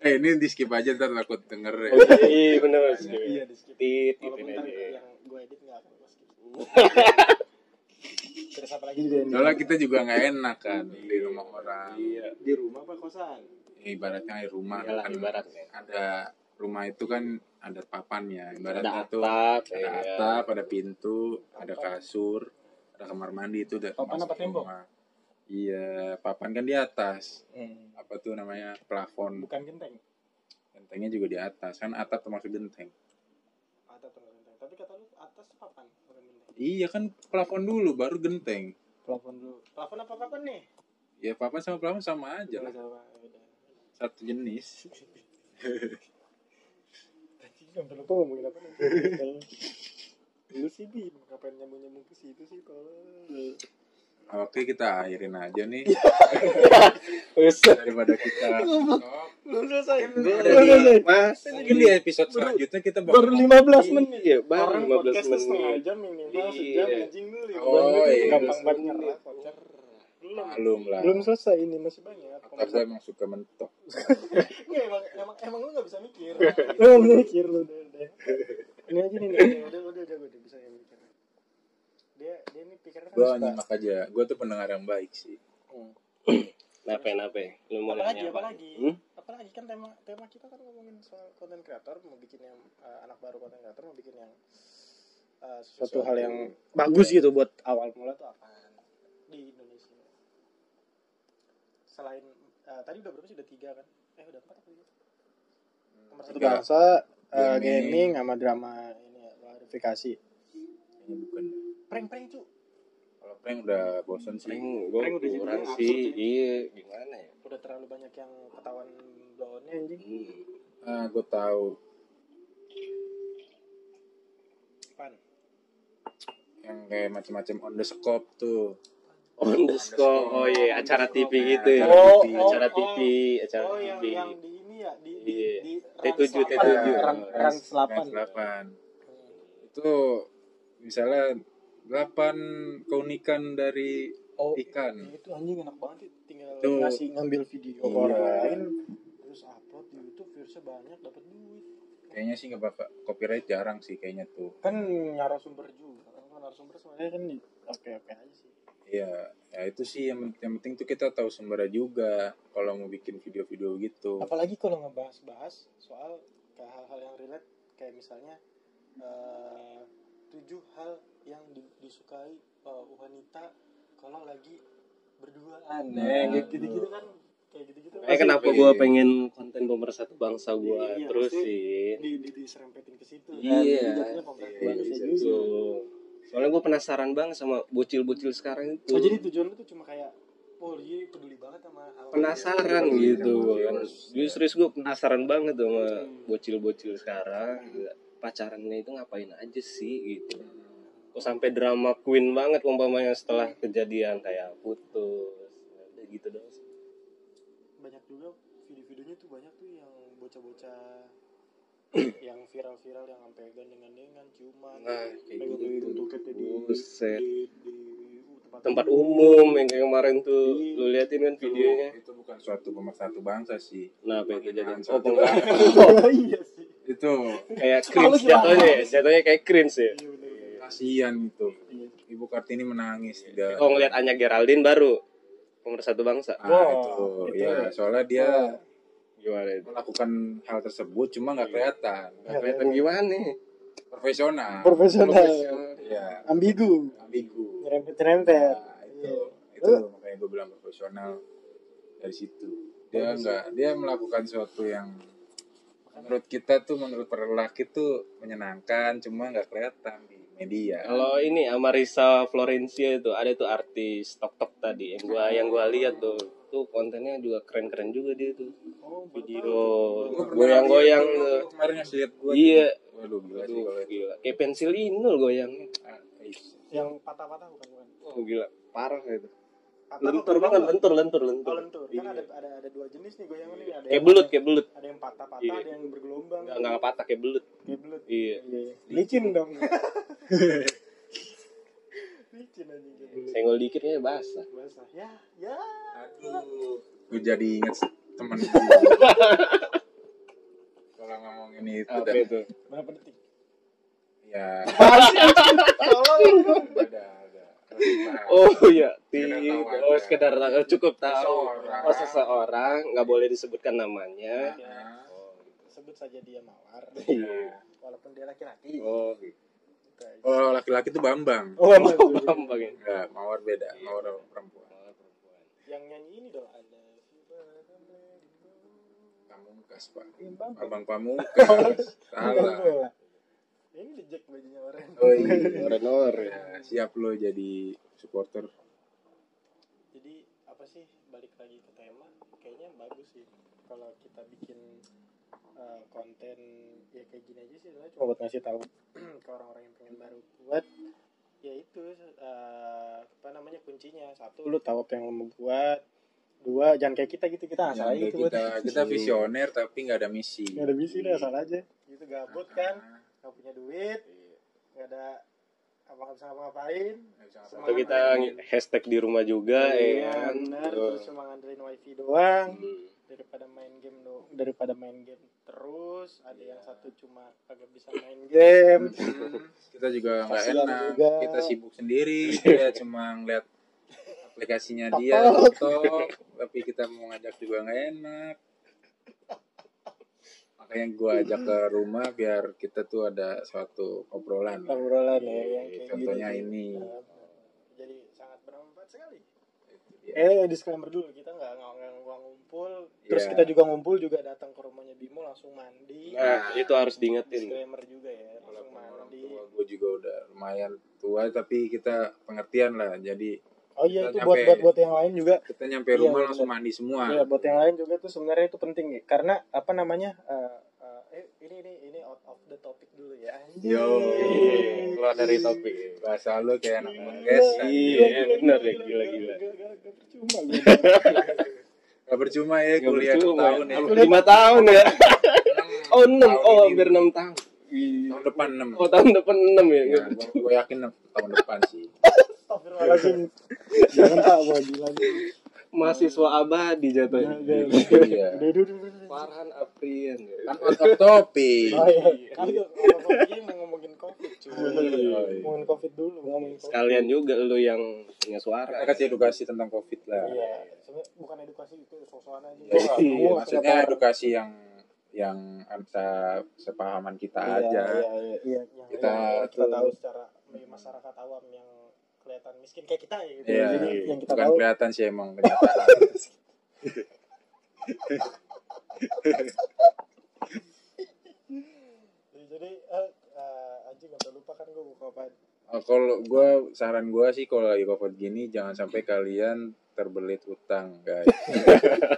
Speaker 3: eh ini di skip aja ntar takut denger ya
Speaker 2: *laughs* Iya bener sih.
Speaker 1: iya di skip
Speaker 2: Tit gitu
Speaker 1: walaupun ntar
Speaker 2: aja.
Speaker 1: yang gue edit nggak akan gue skip *laughs* Iya, terus apa lagi juga yang
Speaker 3: soalnya kita juga nggak enak kan di rumah orang
Speaker 2: Iya.
Speaker 1: di rumah apa kosan
Speaker 3: ibaratnya di rumah
Speaker 2: Iyalah,
Speaker 3: kan
Speaker 2: ibaratnya.
Speaker 3: ada rumah itu kan ada papannya
Speaker 2: Ada
Speaker 3: ibaratnya tuh
Speaker 2: atap,
Speaker 3: ada
Speaker 2: iya.
Speaker 3: atap ada pintu ada kasur ada kamar mandi itu udah
Speaker 1: Papan
Speaker 3: termasuk
Speaker 1: apa tembok?
Speaker 3: rumah. iya papan kan di atas
Speaker 1: hmm.
Speaker 3: apa tuh namanya plafon
Speaker 1: bukan genteng
Speaker 3: gentengnya juga di atas kan atap termasuk genteng
Speaker 1: atap bukan genteng tapi kata lu atas papan bukan genteng
Speaker 3: iya kan plafon dulu baru genteng
Speaker 1: plafon dulu plafon apa papan nih
Speaker 3: ya papan sama plafon sama aja lah
Speaker 1: sama udah
Speaker 3: satu jenis
Speaker 1: Anjing, sampai lupa ngomongin apa nanti. Lu sih Bin, ngapain nyambung-nyambung ke situ sih kalau
Speaker 3: Oke kita akhirin aja nih
Speaker 1: Iya.
Speaker 2: Bosen.
Speaker 3: daripada
Speaker 1: *laughs*
Speaker 3: kita stop.
Speaker 1: Lu selesai.
Speaker 3: Udah
Speaker 1: Baru
Speaker 3: di,
Speaker 1: selesai.
Speaker 3: mas mungkin di episode selanjutnya kita bakal
Speaker 1: Baru 15 menit.
Speaker 2: Iya, baru
Speaker 1: Orang
Speaker 2: 15
Speaker 1: podcastnya setengah
Speaker 2: menit.
Speaker 1: jam minimal
Speaker 2: Iya.
Speaker 1: sejam anjing lu lima
Speaker 3: Oh,
Speaker 1: menit itu
Speaker 3: iya.
Speaker 1: gampang banget nyerah voucher. Belum.
Speaker 3: malum lah.
Speaker 1: Belum selesai ini masih banyak.
Speaker 3: Atau gue emang suka mentok.
Speaker 1: Nggak, emang emang emang lu enggak bisa mikir. Lu enggak mikir lu udah udah. Ini aja nih. nih. Udah udah udah udah bisa yang mikir. Dia dia ini pikirannya kan
Speaker 3: Gue
Speaker 1: suka-
Speaker 3: nyimak aja. Gue tuh pendengar yang baik sih.
Speaker 1: Hmm.
Speaker 2: Nape nape? Lu mau
Speaker 1: apalagi
Speaker 2: nanya apa?
Speaker 1: apalagi
Speaker 2: Hmm?
Speaker 1: apalagi kan tema tema kita kan ngomongin soal konten kreator mau bikin yang eh, anak baru konten kreator mau bikin yang eh, sesuatu hal yang bagus gitu buat awal mula tuh apaan di Indonesia selain eh, tadi udah berapa sih udah tiga kan eh udah empat apa ya? nomor satu
Speaker 3: Tiga.
Speaker 1: bahasa eh,
Speaker 3: Gaming.
Speaker 1: gaming sama drama ini ya, klarifikasi
Speaker 3: Kayaknya bukan.
Speaker 1: prank prank cu
Speaker 3: Kalau prank udah bosen sih.
Speaker 2: Sering gue
Speaker 1: Sering udah jadi
Speaker 2: kurang
Speaker 1: absurd ya.
Speaker 2: sih.
Speaker 1: sih.
Speaker 2: Iya, gimana ya?
Speaker 1: udah terlalu banyak yang ketahuan blownnya anjing
Speaker 2: Hmm.
Speaker 3: Ah, gue tahu
Speaker 1: apaan
Speaker 3: yang kayak macam-macam on the scope tuh.
Speaker 2: On the score. Oh iya, acara TV gitu ya.
Speaker 1: Oh, oh,
Speaker 2: Acara TV, acara
Speaker 1: Oh yang
Speaker 2: TV.
Speaker 1: yang di ini ya di di,
Speaker 2: Iya.
Speaker 1: di ya?
Speaker 2: T7,
Speaker 1: Rans
Speaker 3: Iya,
Speaker 2: T7.
Speaker 1: delapan, Ran, Rans delapan.
Speaker 3: Selapan. Itu misalnya 8 keunikan dari
Speaker 1: Oh
Speaker 3: Ikan.
Speaker 1: Itu anjing enak banget itu. tinggal
Speaker 3: Iya. Itu.
Speaker 1: ngasih ngambil video ke
Speaker 3: Iya.
Speaker 1: orang lain terus upload di YouTube viewsnya banyak dapat duit.
Speaker 3: kayaknya sih nggak bakal copyright jarang sih kayaknya tuh.
Speaker 1: Kan narasumber juga. Kan narasumber semuanya kan oke-oke aja sih.
Speaker 3: Iya, ya itu sih yang, yang penting tuh kita tahu sumbernya juga kalau mau bikin video-video gitu.
Speaker 1: Apalagi kalau ngebahas-bahas soal ke hal-hal yang relate kayak misalnya eh, tujuh hal yang di- disukai eh, wanita kalau lagi berduaan
Speaker 3: Nah,
Speaker 1: ya kayak gitu-gitu kan kayak gitu-gitu
Speaker 2: Eh
Speaker 1: kan
Speaker 2: kenapa gue pengen konten pemersatu bangsa gue
Speaker 1: Iya,
Speaker 2: terus
Speaker 1: maksudnya-
Speaker 2: sih?
Speaker 1: di, di, diserempetin ke situ kan.
Speaker 2: Iya.
Speaker 1: Jadi jatuhnya pemerintah
Speaker 3: Iya,
Speaker 1: Indonesia
Speaker 3: iya,
Speaker 1: juga.
Speaker 2: Tuh. Soalnya gue penasaran banget sama bocil-bocil sekarang itu.
Speaker 1: Oh, jadi tujuan lu tuh cuma kayak oh dia peduli banget sama hal
Speaker 2: penasaran
Speaker 3: Iya,
Speaker 2: gitu
Speaker 3: iya.
Speaker 2: kan. Gue serius gue penasaran banget sama
Speaker 1: Hmm.
Speaker 2: bocil-bocil sekarang pacarannya itu ngapain aja sih gitu. Kok sampai drama queen banget umpamanya setelah kejadian kayak putus. Ya Udah gitu dong.
Speaker 1: banyak juga video-videonya tuh banyak tuh yang bocah-bocah
Speaker 2: *coughs*
Speaker 1: yang viral-viral yang sampai gandengan-gandengan ciuman
Speaker 2: Nah, kayak
Speaker 1: megang-megang
Speaker 2: gitu.
Speaker 1: tuketnya di
Speaker 2: Buset.
Speaker 1: di, di uh,
Speaker 2: Tempat umum yang kayak kemarin tuh lu liatin kan videonya.
Speaker 3: Itu, itu bukan suatu pemersatu bangsa sih.
Speaker 2: Nah, apa yang kejadian?
Speaker 3: Suatu
Speaker 2: Oh,
Speaker 1: *laughs*
Speaker 2: pengga-
Speaker 1: iya sih
Speaker 3: *laughs* itu
Speaker 2: *laughs* kayak cringe jatuhnya ya. Jatuhnya kayak cringe ya.
Speaker 1: iya bener
Speaker 3: kasihan itu. Ibu Kartini menangis tidak.
Speaker 2: Kalau ngeliat Anya Geraldine baru pemersatu bangsa.
Speaker 3: Ah,
Speaker 1: Wah,
Speaker 3: itu,
Speaker 1: itu
Speaker 3: ya,
Speaker 1: ya.
Speaker 3: soalnya dia
Speaker 2: Gimana itu?
Speaker 3: melakukan hal tersebut cuma nggak kelihatan,
Speaker 2: Gak kelihatan gimana nih?
Speaker 3: Iya. profesional. Iya.
Speaker 1: profesional
Speaker 3: Ya,
Speaker 1: ambigu
Speaker 3: ambigu.
Speaker 1: nyerempet-nyerempet
Speaker 3: Nah, itu itu makanya gue bilang profesional dari situ. Dia nggak dia melakukan sesuatu yang menurut kita tuh menurut para lelaki tuh menyenangkan cuma nggak kelihatan di media.
Speaker 2: Kalau ini Amarisa Florencia itu ada tuh artis tok tok tadi yang gua yang gua lihat tuh tuh kontennya juga keren keren juga dia tuh
Speaker 1: oh baru
Speaker 2: video
Speaker 3: Gua pernah
Speaker 2: goyang goyang
Speaker 3: lihat tuh,
Speaker 2: tuh
Speaker 3: Kemarin ngasih lihat gue.
Speaker 2: iya
Speaker 3: Waduh, gila sih
Speaker 2: Aduh,
Speaker 3: kalau itu.
Speaker 2: gila kayak pensil inul goyangnya
Speaker 3: Ah, ih.
Speaker 1: tahu. yang patah-patah bukan bukan
Speaker 2: oh gila parah itu
Speaker 1: Patah
Speaker 2: lentur
Speaker 1: apa?
Speaker 2: banget lentur lentur lentur
Speaker 1: Oh, lentur. Kan ada, ada ada dua jenis nih goyangan nih. Ada
Speaker 2: kayak
Speaker 1: yang-
Speaker 2: belut kayak belut
Speaker 1: Ada yang patah-patah,
Speaker 2: Iya.
Speaker 1: ada yang bergelombang.
Speaker 2: nggak nggak patah kayak belut
Speaker 1: Kayak belut.
Speaker 2: iya
Speaker 1: Iya. Licin
Speaker 2: *laughs*
Speaker 1: dong. *laughs* Licin aja kayak belut.
Speaker 2: senggol dikit kayaknya basah
Speaker 1: Basah. Ya, ya.
Speaker 3: Aduh, gue jadi inget *laughs* temen gue. Kalau ngomongin itu
Speaker 2: apa
Speaker 3: dan
Speaker 2: itu
Speaker 1: Berapa detik?
Speaker 3: ya
Speaker 1: Tolong.
Speaker 3: ada ada. Oh,
Speaker 2: oh iya
Speaker 3: Sekedar tahu
Speaker 2: tidak oh
Speaker 3: aja.
Speaker 2: sekedar tahu, cukup tahu
Speaker 3: Seseorang.
Speaker 2: oh seseorang nggak boleh disebutkan namanya
Speaker 3: Iya.
Speaker 1: Sebut saja dia mawar.
Speaker 2: Iya.
Speaker 1: Walaupun dia laki-laki.
Speaker 2: oh
Speaker 1: Gitu aja.
Speaker 3: Kalau Oh, laki-laki tuh Bambang.
Speaker 1: Oh, apa tuh?
Speaker 2: gampang ya
Speaker 3: Enggak, mawar beda, mawar sama perempuan.
Speaker 1: Yang nyanyi ini dong ada.
Speaker 3: Pamungkas, Pak.
Speaker 1: Imbang.
Speaker 3: Abang Pamungkas. Salah.
Speaker 1: Oh. Ini di Jack bajunya orang.
Speaker 3: Oh iya.
Speaker 2: Oren-oren.
Speaker 3: Ya, siap lo jadi supporter.
Speaker 1: jadi apa sih balik lagi ke tema kayaknya bagus sih kalau kita bikin uh, konten ya kayak gini aja sih sebenarnya cuma buat ngasih tahu *clears throat* ke orang-orang yang pengen baru buat ya itu uh, apa namanya kuncinya satu lu tahu apa yang lu mau buat dua jangan kayak kita gitu kita asal aja
Speaker 3: Jangan kayak
Speaker 1: gitu buat
Speaker 3: kita kita visioner tapi nggak ada misi.
Speaker 1: nggak ada misi lah asal aja gitu gabut kan nggak punya duit
Speaker 3: Iya.
Speaker 1: nggak ada apa nggak bisa ngapa-ngapain
Speaker 2: Atau kita hashtag di rumah
Speaker 1: Iya,
Speaker 2: juga ya kan.
Speaker 1: benar
Speaker 2: Tuh.
Speaker 1: terus cuma ngandelin wifi doang
Speaker 2: Hmm.
Speaker 1: daripada main game do daripada main game terus ada
Speaker 3: Iya.
Speaker 1: yang satu cuma kagak bisa main game *laughs*
Speaker 3: Hmm, kita juga nggak
Speaker 1: Kasihan
Speaker 3: enak
Speaker 1: juga.
Speaker 3: kita sibuk
Speaker 1: *laughs*
Speaker 3: sendiri kita cuma ngeliat aplikasinya dia
Speaker 1: Tok.
Speaker 3: TikTok tapi kita mau ngajak juga nggak enak makanya
Speaker 1: *laughs*
Speaker 3: gua ajak ke rumah biar kita tuh ada suatu obrolan
Speaker 1: obrolan ya yang kayak
Speaker 3: contohnya
Speaker 1: gini.
Speaker 3: ini
Speaker 1: Nah, jadi sangat bermanfaat sekali
Speaker 3: Ya,
Speaker 1: eh disclaimer dulu kita nggak nggak nggak nggak ngumpul terus
Speaker 3: Iya.
Speaker 1: kita juga ngumpul juga datang ke rumahnya Bimo langsung mandi
Speaker 2: Nah, itu harus diingetin.
Speaker 1: disclaimer juga ya langsung
Speaker 3: walaupun orang
Speaker 1: mandi
Speaker 3: tua gue juga udah lumayan tua tapi kita pengertian lah jadi
Speaker 1: oh iya itu
Speaker 3: Kita
Speaker 1: buat
Speaker 3: nyampe-
Speaker 1: buat buat yang lain juga
Speaker 3: kita nyampe
Speaker 1: Iya,
Speaker 3: rumah
Speaker 1: bener.
Speaker 3: langsung mandi semua
Speaker 1: Iya, buat yang lain juga tuh sebenarnya itu penting ya. Karena apa namanya? eh, eh, ini ini ini out of the topic dulu ya. Anjing.
Speaker 3: Yo.
Speaker 2: Iya, Keluar dari topik.
Speaker 3: bahasa lu kayak anak
Speaker 1: Gila,
Speaker 3: podcast
Speaker 2: Iya,
Speaker 1: gila,
Speaker 2: bener ya,
Speaker 1: gila, gila.
Speaker 2: gila, gila.
Speaker 1: Gak- gak- gak percuma gua.
Speaker 3: Gak percuma ya
Speaker 2: Nggak
Speaker 3: kuliah
Speaker 2: percuma.
Speaker 3: tahun ya.
Speaker 2: Lima tahun ya.
Speaker 3: Enam.
Speaker 2: *laughs* Oh enam,
Speaker 3: Tahun
Speaker 2: oh
Speaker 3: ini.
Speaker 2: hampir enam tahun.
Speaker 3: Tahun depan 6.
Speaker 2: Oh tahun depan enam ya.
Speaker 3: Ya, gue yakin tahun depan sih.
Speaker 1: Astagfirullahaladzim. Jangan tak gua gila.
Speaker 2: Mahasiswa abadi
Speaker 1: Jangan,
Speaker 2: jatuhnya.
Speaker 1: jangan.
Speaker 3: Iya.
Speaker 1: Udah, udah, udah, udah.
Speaker 2: Farhan Aprian.
Speaker 3: Kan out of topic.
Speaker 1: Oh iya, kan tuh, kalau topiknya mau ngomongin covid cuy.
Speaker 3: Iya.
Speaker 1: Ngomongin covid dulu, ngomongin covid.
Speaker 2: Sekalian juga lu yang punya
Speaker 3: Kita
Speaker 2: suara.
Speaker 3: kasih edukasi tentang covid lah.
Speaker 1: Iya, sebenarnya bukan edukasi itu sosokan aja.
Speaker 3: Iya.
Speaker 1: Gua nggak tahu,
Speaker 3: Maksudnya
Speaker 1: kenapa-
Speaker 3: edukasi yang yang antara sepahaman kita
Speaker 1: Iya,
Speaker 3: aja.
Speaker 1: Iya, iya, iya. Yang
Speaker 3: Kita
Speaker 1: yang kita
Speaker 3: tuh-
Speaker 1: tahu secara masyarakat awam yang kelihatan miskin kayak kita ya gitu.
Speaker 3: Iya,
Speaker 1: Jadi yang kita
Speaker 3: bukan
Speaker 1: tahu
Speaker 3: kelihatan sih emang kenyataan.
Speaker 1: *laughs* jadi eh, eh, anjing gak lupa kan gue buka apa
Speaker 3: Eh, kalau gua saran gua sih kalau lagi covid gini jangan sampai kalian terbelit utang guys
Speaker 1: *laughs*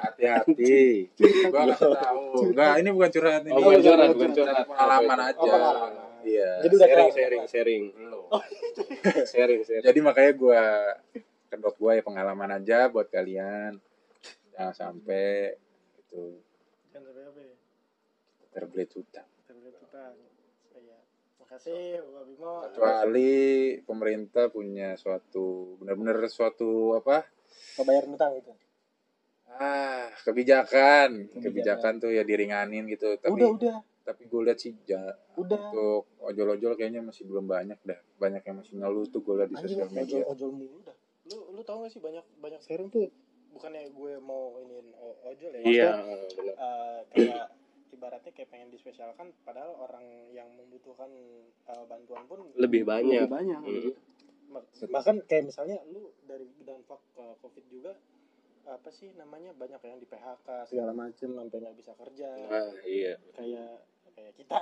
Speaker 3: hati-hati gua kasih tahu enggak ini bukan curhat ini
Speaker 2: Oh, bukan curhat, bukan curhat.
Speaker 3: pengalaman
Speaker 2: Oh,
Speaker 3: aja
Speaker 1: pengalaman.
Speaker 3: iya
Speaker 1: Jadi udah
Speaker 2: sharing
Speaker 1: kelar.
Speaker 2: sharing sharing
Speaker 3: Belum.
Speaker 2: sharing sharing
Speaker 3: jadi makanya gua kedok gua ya pengalaman aja buat kalian jangan sampai itu
Speaker 1: Jangan sampai apa ya?
Speaker 3: terbelit utang
Speaker 1: Terlihat utang. Iya. Makasih Pak Bimo.
Speaker 3: kecuali pemerintah punya suatu benar-benar suatu apa
Speaker 1: Mau bayar utang gitu.
Speaker 3: Ah, kebijakan.
Speaker 1: Kebijakan.
Speaker 3: kebijakan, tuh ya diringanin gitu. Tapi
Speaker 1: Udah, udah,
Speaker 3: tapi gue lihat sih ja-
Speaker 1: udah.
Speaker 3: untuk ojol-ojol kayaknya masih belum banyak dah. Banyak yang masih ngeluh tuh gue lihat di
Speaker 1: Anjing
Speaker 3: sosial
Speaker 1: ojol
Speaker 3: media.
Speaker 1: ojol mulu dah. Lu lu tau gak sih banyak banyak sekarang tuh bukannya gue mau iniin o- ojol ya.
Speaker 2: iya
Speaker 1: maksudnya,
Speaker 2: benar.
Speaker 1: eh, kayak ibaratnya kayak pengen dispesialkan padahal orang yang membutuhkan eh, bantuan pun
Speaker 2: lebih
Speaker 1: lebih
Speaker 2: banyak
Speaker 1: banyak
Speaker 2: Hmm.
Speaker 1: Ma- bahkan kayak misalnya lu dari dampak eh, covid juga apa sih namanya banyak yang di PHK segala macem sampai nggak bisa kerja
Speaker 3: Nah.
Speaker 2: ah iya
Speaker 1: kayak kayak kita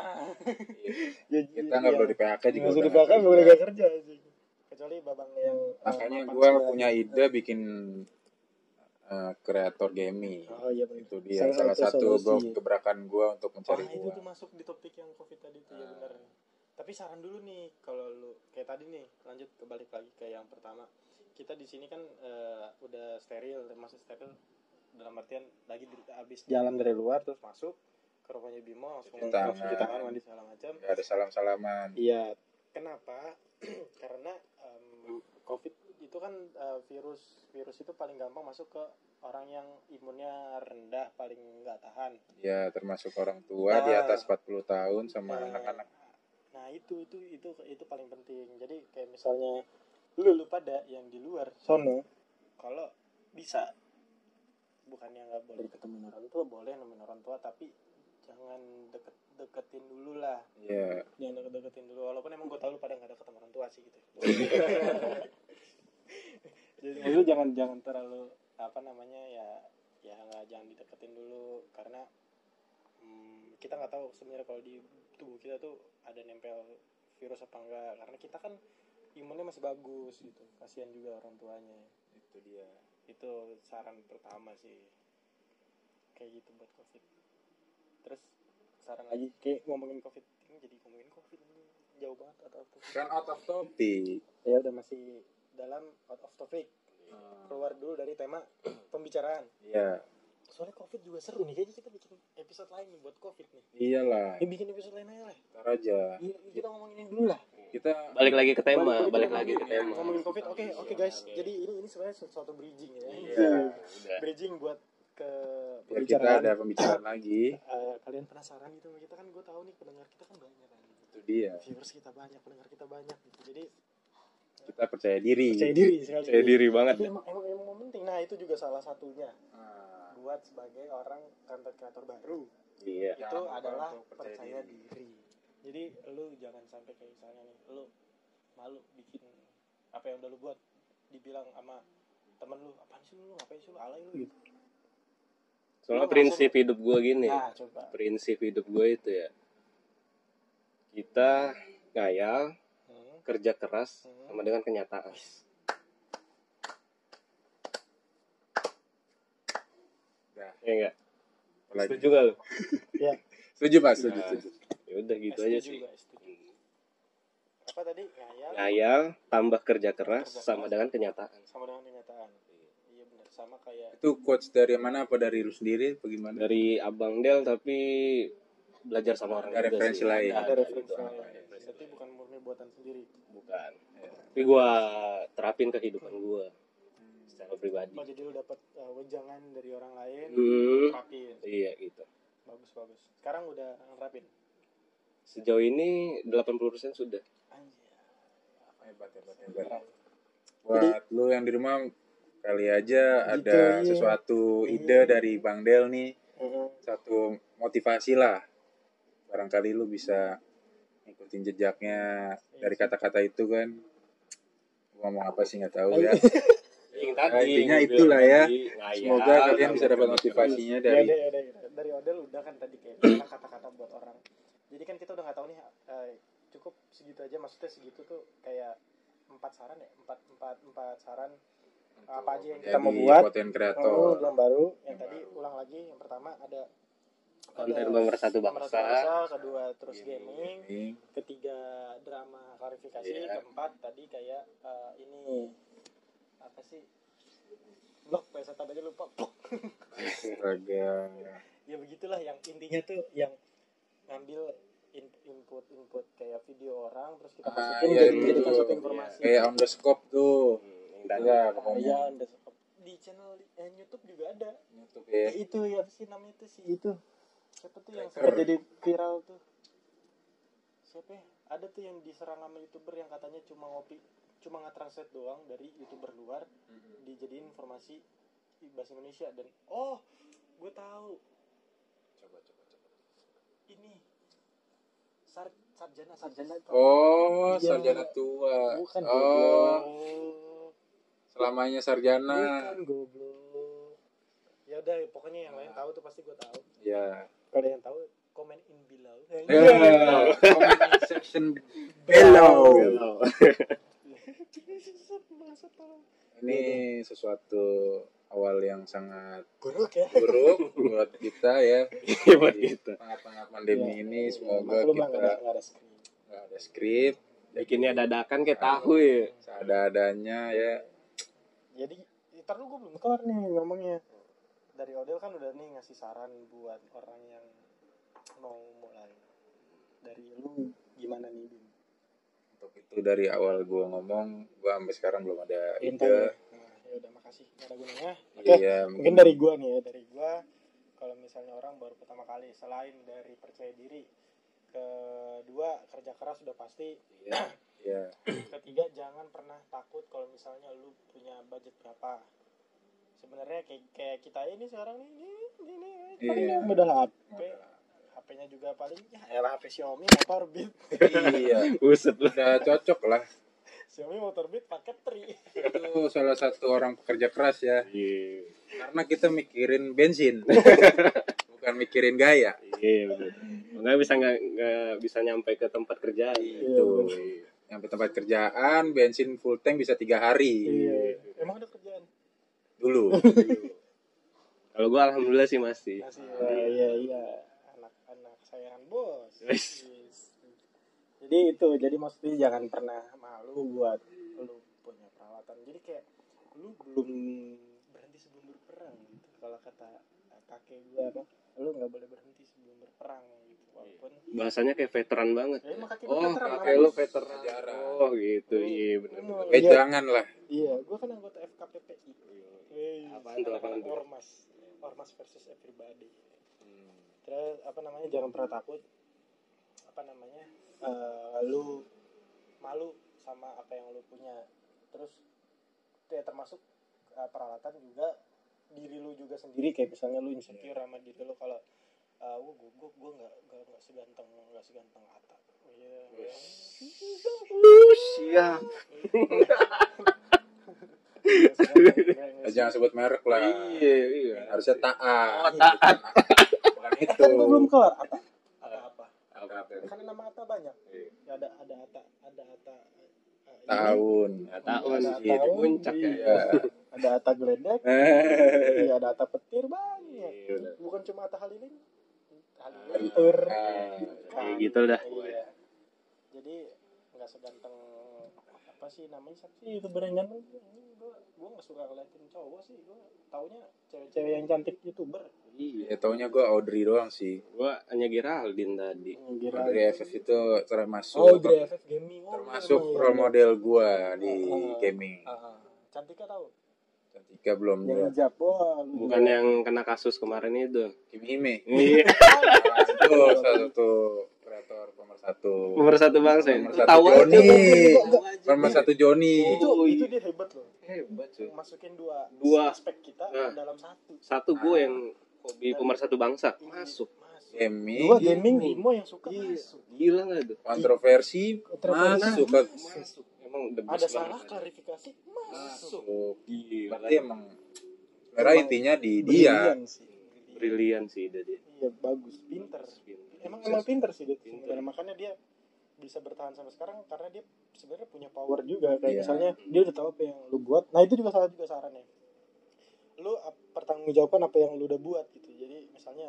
Speaker 3: Iya.
Speaker 1: ya,
Speaker 3: Kita nggak perlu kan, di PHK juga.
Speaker 1: juga di
Speaker 3: udah nggak
Speaker 1: PHK
Speaker 3: perlu.
Speaker 1: boleh nggak kerja sih kecuali babang yang eh,
Speaker 3: Makanya
Speaker 1: mapan
Speaker 3: gue
Speaker 1: segala
Speaker 3: punya
Speaker 1: gitu.
Speaker 3: ide bikin eh, kreator gaming.
Speaker 1: oh iya benar
Speaker 3: Itu dia salah, satu
Speaker 1: solusi.
Speaker 3: gua- gebrakan gue untuk mencari
Speaker 1: Wah, itu
Speaker 3: uang.
Speaker 1: tuh masuk di topik yang covid tadi tuh ya
Speaker 3: Nah.
Speaker 1: benar. Tapi saran dulu nih kalau lu kayak tadi nih lanjut kebalik lagi ke yang pertama. Kita di sini kan eh, udah steril, masih steril dalam artian lagi di, habis jalan dari luar terus masuk ke rumahnya Bimo langsung
Speaker 3: Cuci
Speaker 1: langsung cuci
Speaker 3: tangan.
Speaker 1: tangan mandi segala macam.
Speaker 3: Nggak ada salam-salaman.
Speaker 1: Iya. Kenapa? *clears throat* Karena em, COVID itu kan eh, virus virus itu paling gampang masuk ke orang yang imunnya rendah paling nggak tahan.
Speaker 3: Ya termasuk orang tua di
Speaker 1: Nah.
Speaker 3: atas 40 tahun sama
Speaker 1: Nah.
Speaker 3: anak-anak.
Speaker 1: Nah itu itu itu itu paling penting. Jadi kayak misalnya lu lu pada yang di luar sono kalau bisa bukannya nggak boleh ketemu orang tua boleh nemuin orang tua tapi jangan deket deketin dulu lah
Speaker 3: Ya
Speaker 1: jangan deket deketin dulu walaupun emang gue tau lu pada nggak deket sama orang tua *laughs* sih gitu jadi maksudnya jangan jangan terlalu apa namanya ya ya nggak jangan dideketin dulu karena hmm, kita nggak tahu sebenarnya kalau di tubuh kita tuh ada nempel virus apa enggak karena kita kan imunnya masih bagus gitu kasihan juga orang tuanya
Speaker 3: itu dia.
Speaker 1: itu saran pertama sih kayak gitu buat covid terus saran lagi kayak ngomongin covid ini jadi ngomongin covid ini jauh banget atau apa
Speaker 3: Kan out of topic.
Speaker 1: ya udah masih dalam out of topic keluar dulu dari tema *clears throat* pembicaraan
Speaker 3: Iya.
Speaker 1: soalnya covid juga seru nih kayaknya kita bikin episode lain nih buat covid nih
Speaker 3: Iyalah,
Speaker 1: ya, bikin episode lain aja lah
Speaker 3: ntar aja.
Speaker 1: Iya, kita ngomongin ini dulu lah
Speaker 3: Kita
Speaker 2: balik lagi ke tema balik,
Speaker 1: Balik-
Speaker 2: lagi ke tema
Speaker 1: ngomongin covid oke
Speaker 2: Iya,
Speaker 1: oke guys jadi ini ini sebenarnya su- suatu bridging ya
Speaker 3: Iya.
Speaker 1: bridging buat ke
Speaker 3: biar ya kita ada pembicaraan lagi.
Speaker 1: Eh, kalian penasaran gitu sama kita kan gue tahu nih pendengar kita kan banyak kan
Speaker 3: Itu dia.
Speaker 1: viewers kita banyak pendengar kita banyak gitu jadi
Speaker 3: Kita percaya diri.
Speaker 1: percaya diri sekali
Speaker 2: saya Iya, diri banget
Speaker 1: Tapi emang, emang emang penting nah itu juga salah satunya
Speaker 3: Ah,
Speaker 1: buat sebagai orang kantor kreator baru
Speaker 2: iya
Speaker 3: Jangan
Speaker 1: itu
Speaker 3: lupa
Speaker 1: adalah
Speaker 3: Ya, untuk
Speaker 1: percaya,
Speaker 3: percaya
Speaker 1: diri. jadi lu jangan sampai kayak misalnya nih lu malu bikin apa yang udah lu buat dibilang sama temen lu apaan sih lu ngapain sih lu alay lu gitu
Speaker 2: soalnya prinsip hidup gue gini
Speaker 1: nah coba
Speaker 2: prinsip hidup gue itu ya kita ngayal
Speaker 1: Hmm.
Speaker 2: kerja keras sama dengan kenyataan
Speaker 1: Nah,
Speaker 3: Dah.
Speaker 2: ya enggak
Speaker 3: Apalagi.
Speaker 2: setuju gak lu
Speaker 3: Setuju Pak, setuju,
Speaker 2: Nah.
Speaker 3: setuju.
Speaker 2: ya udah gitu
Speaker 1: Eh,
Speaker 2: aja
Speaker 1: setuju
Speaker 2: sih
Speaker 1: gak? Setuju. apa tadi ngayal
Speaker 2: ngayal tambah kerja keras
Speaker 1: Kerja
Speaker 2: sama
Speaker 1: keras.
Speaker 2: dengan kenyataan
Speaker 1: sama dengan kenyataan iya benar sama kayak
Speaker 3: Itu quotes dari mana? Apa dari lu sendiri? Apa gimana?
Speaker 2: dari abang Del tapi belajar sama orang
Speaker 3: Ada
Speaker 2: juga
Speaker 3: referensi
Speaker 2: sih.
Speaker 3: lain.
Speaker 1: ada referensi
Speaker 2: gitu.
Speaker 1: lain. berarti bukan murni buatan sendiri
Speaker 2: bukan ya. tapi gue terapin ke kehidupan gue secara pribadi
Speaker 1: oh jadi lu dapat uh, wejangan dari orang lain
Speaker 2: Hmm,
Speaker 1: rapin
Speaker 2: iya gitu
Speaker 1: bagus bagus sekarang udah rapin
Speaker 2: sejauh ini 80% sudah
Speaker 1: anjir
Speaker 3: Hebat, hebat, hebat. Buat lu yang di rumah kali aja
Speaker 1: Gitu,
Speaker 3: ada
Speaker 1: iya.
Speaker 3: sesuatu
Speaker 1: Iya.
Speaker 3: ide dari Bang Del nih,
Speaker 1: Heeh.
Speaker 3: satu motivasi lah. Barangkali
Speaker 1: Iya
Speaker 3: lu bisa ngikutin jejaknya dari kata-kata itu kan. ngomong apa sih nggak
Speaker 1: Oh,
Speaker 3: tahu ya
Speaker 1: iya.
Speaker 2: Yang
Speaker 3: Nah, intinya
Speaker 2: mobil
Speaker 3: itulah ya.
Speaker 2: tadi, iya. ngayal,
Speaker 3: *laughs* semoga
Speaker 1: Iya.
Speaker 3: kalian bisa dapat
Speaker 2: ngomong.
Speaker 3: motivasinya
Speaker 1: dari
Speaker 3: dari
Speaker 1: iya, dari Odel udah kan tadi *coughs* kayak bilang kata-kata buat orang jadi kan kita udah nggak tahu nih eh, cukup segitu aja maksudnya segitu tuh kayak empat saran ya empat empat empat saran apa aja yang kita mau
Speaker 3: jadi
Speaker 1: buat.
Speaker 3: konten
Speaker 1: oh,
Speaker 3: kreator
Speaker 1: yang baru yang
Speaker 3: Yang
Speaker 1: tadi
Speaker 3: baru.
Speaker 1: ulang lagi yang pertama ada
Speaker 2: konten
Speaker 1: ada pemersatu
Speaker 2: pemersatu bangsa
Speaker 1: kedua terus gaming
Speaker 3: Ini
Speaker 1: ketiga drama klarifikasi
Speaker 2: Iya.
Speaker 1: keempat tadi kayak eh, ini apa sih blok bahasa tadi aja lupa
Speaker 3: astaga
Speaker 1: ya begitulah yang intinya tuh yang ngambil in- input input kayak video orang terus kita
Speaker 3: Ah,
Speaker 1: masukin
Speaker 3: iya,
Speaker 1: jadi
Speaker 3: iya,
Speaker 1: jadikan
Speaker 3: iya.
Speaker 1: suatu informasi
Speaker 3: kayak on the scope tuh
Speaker 2: Hmm, yang
Speaker 3: Itu
Speaker 2: *laughs* tadi.
Speaker 3: lah
Speaker 1: Ah,
Speaker 3: pokoknya
Speaker 1: iya, ada di channel di- eh, YouTube juga ada
Speaker 3: YouTube ya
Speaker 1: itu ya apa sih namanya itu sih itu siapa tuh yang
Speaker 3: Cracker.
Speaker 1: sempat jadi viral tuh siapa ya? ada tuh yang diserang sama youtuber yang katanya cuma ngopi cuma nge-translate doang dari youtuber luar dijadiin informasi di bahasa Indonesia dan oh gue tahu
Speaker 3: coba coba coba
Speaker 1: ini Sar- sarjana sarjana itu
Speaker 3: oh
Speaker 1: Iya.
Speaker 3: sarjana tua
Speaker 1: bukan
Speaker 3: oh
Speaker 1: goblok
Speaker 3: selamanya sarjana
Speaker 1: bukan goblok ya udah pokoknya yang
Speaker 3: Nah.
Speaker 1: lain tahu tuh pasti gue tahu
Speaker 3: ya
Speaker 1: kalau yang tahu komen in below
Speaker 3: Eh, comment section
Speaker 2: Hello.
Speaker 3: ini sesuatu awal yang sangat
Speaker 1: buruk ya
Speaker 3: buruk buat kita ya
Speaker 2: buat kita.
Speaker 3: tengah-tengah pandemi ini
Speaker 1: Iya.
Speaker 3: semoga
Speaker 1: Maklum lah, nggak
Speaker 3: kita
Speaker 1: ada- nggak ada screen.
Speaker 3: nggak ada skrip
Speaker 2: Bikinnya Ya, dadakan kayak tahu ya.
Speaker 3: seada-adanya ya
Speaker 1: jadi ntar lu gue belum kelar nih ngomongnya dari Odel kan udah nih ngasih saran buat orang yang mau mulai dari lu gimana nih Bim?
Speaker 3: untuk itu dari awal gua ngomong gua sampai sekarang belum ada
Speaker 1: Bentar
Speaker 3: ide
Speaker 1: ya. Nah, ya udah makasih nggak ada gunanya Oke.
Speaker 3: iya
Speaker 1: mungkin dari gua nih ya dari gua kalau misalnya orang baru pertama kali selain dari percaya diri kedua kerja keras sudah pasti
Speaker 3: iya iya
Speaker 1: ketiga jangan pernah takut kalau misalnya lu punya budget berapa sebenarnya kayak, kayak kita ini sekarang nih ini ini, ini paling
Speaker 3: Iya.
Speaker 1: modal HP HP-nya juga paling ya elah HP Xiaomi Motorbit
Speaker 3: iya
Speaker 1: *laughs*
Speaker 2: Buset lu.
Speaker 3: udah cocok lah
Speaker 1: Xiaomi Motorbit pakai tri
Speaker 3: itu salah satu orang pekerja keras ya
Speaker 2: Iya.
Speaker 3: karena kita mikirin
Speaker 1: *laughs*
Speaker 3: bensin bukan mikirin gaya
Speaker 2: Iya bener. Makanya bisa nggak nggak bisa nyampe ke tempat kerja.
Speaker 1: Iya,
Speaker 3: itu sampai tempat kerjaan bensin full tank bisa tiga hari
Speaker 1: iya emang ada kerjaan *laughs*
Speaker 3: dulu
Speaker 2: Kalau gua alhamdulillah sih masih.
Speaker 1: Masih, iya iya iya anak-anak sayangan *laughs* bos.
Speaker 2: Wes.
Speaker 1: Yes. Jadi itu jadi maksudnya jangan pernah malu buat lu punya peralatan. Jadi kayak lu belum berhenti sebelum berperang gitu. Kalau kata eh, kakek gua apa? Lu nggak boleh berhenti sebelum berperang gitu. Walaupun
Speaker 2: Bahasanya kayak veteran banget.
Speaker 1: ya, emang kakek gua
Speaker 2: Oh,
Speaker 1: veteran,
Speaker 2: kakek
Speaker 1: Mas.
Speaker 2: lu veteran.
Speaker 3: Sejarah.
Speaker 2: Oh, gitu. Iya, bener
Speaker 1: Lu-
Speaker 2: bener.
Speaker 3: eh
Speaker 1: iya,
Speaker 3: jangan lah
Speaker 1: iya, gua kan anggota FKPPI. Wih,
Speaker 2: Apaan tuh,
Speaker 1: anak-anak
Speaker 2: apaan tuh?
Speaker 1: Ormas. Ormas versus everybody. terus apa namanya jangan pernah takut apa namanya eh, lu malu sama apa yang lu punya terus ya termasuk eh, peralatan juga diri lu juga sendiri kayak misalnya lu insecure sama diri lu kalau eh gue gue gue nggak nggak nggak seganteng nggak seganteng Ata Oh, iya.
Speaker 2: Siap.
Speaker 1: Nggak seganteng, nggak- nggak
Speaker 3: Eh, jangan sebut merek lah
Speaker 2: Iya, iya.
Speaker 3: harusnya taat
Speaker 2: Oh, taat.
Speaker 3: *laughs* bukan
Speaker 1: seganteng. Eh,
Speaker 3: itu
Speaker 1: kan gue belum kelar Ata Ata apa karena nama Ata banyak
Speaker 2: Iya.
Speaker 1: Ya, ada ada Ata ada Ata eh, ini.
Speaker 3: tahun
Speaker 2: Tahun
Speaker 1: Ada
Speaker 2: sih di
Speaker 1: tahun,
Speaker 2: puncak ya.
Speaker 1: iya. ada Ata Gledek Iya ada ata petir banyak.
Speaker 2: Eh. Iya, bener.
Speaker 1: Bukan cuma ata haliling. Halilintar.
Speaker 3: Iya.
Speaker 2: Kayak gitu dah.
Speaker 1: Iya. Jadi nggak seganteng apa sih namanya siapa sih itu berengan gue gue nggak suka ngeliatin cowok sih gue taunya cewek-cewek yang cantik youtuber
Speaker 2: Iya.
Speaker 3: ya taunya gue Audrey doang sih
Speaker 2: Gua hanya Geraldine tadi.
Speaker 3: Audrey FF itu termasuk
Speaker 1: oh Iya. Audrey FF gaming oh,
Speaker 3: termasuk
Speaker 1: iya, iya.
Speaker 3: role model gue di
Speaker 1: Oh.
Speaker 3: gaming
Speaker 1: Ah, ah. cantiknya tau
Speaker 3: Cantika belum
Speaker 2: Iya.
Speaker 1: yang
Speaker 3: ya
Speaker 1: hijab wah lu
Speaker 2: Bukan yang kena kasus kemarin itu.
Speaker 3: Kim Hime
Speaker 2: Iya. *laughs*
Speaker 3: Nah, itu salah satu kreator pemersatu
Speaker 2: Pemersatu bangsa. ya?
Speaker 3: Pemersatu
Speaker 2: Tahu aja
Speaker 3: Joni.
Speaker 2: tuh. Tahu aja.
Speaker 3: pemersatu Joni
Speaker 1: itu
Speaker 2: Oh,
Speaker 1: itu
Speaker 2: iya.
Speaker 1: dia hebat loh
Speaker 2: Hebat cuy.
Speaker 1: masukin dua,
Speaker 2: Dua.
Speaker 1: aspek kita
Speaker 2: Nah.
Speaker 1: dalam satu
Speaker 2: Satu gue yang hobi pemersatu bangsa
Speaker 1: masuk
Speaker 2: masuk.
Speaker 3: gaming
Speaker 1: Gua gaming
Speaker 2: Gaming.
Speaker 1: Bimo yang suka
Speaker 2: Iya.
Speaker 1: masuk.
Speaker 2: Gila nggak tuh?
Speaker 3: kontroversi
Speaker 1: Kontroversi.
Speaker 3: masuk ke
Speaker 2: Masuk. Yang emang the best
Speaker 1: ada
Speaker 2: banget
Speaker 1: salah
Speaker 2: aja.
Speaker 1: klarifikasi masuk
Speaker 2: Oh, gila.
Speaker 3: berarti emang sebenarnya
Speaker 1: Emang
Speaker 3: intinya di
Speaker 2: Iya.
Speaker 3: dia
Speaker 1: Brilian sih Brilian.
Speaker 2: Brilian sih ide dia.
Speaker 1: iya bagus pinter emang
Speaker 3: Sukses.
Speaker 1: emang pinter sih dia
Speaker 2: Pinter.
Speaker 1: sebenarnya makanya dia bisa bertahan sampai sekarang karena dia sebenarnya punya power juga kayak
Speaker 3: Iya.
Speaker 1: misalnya dia udah tahu apa yang lu buat nah itu juga salah juga sarannya lu ap- pertanggungjawaban apa yang lu udah buat gitu jadi misalnya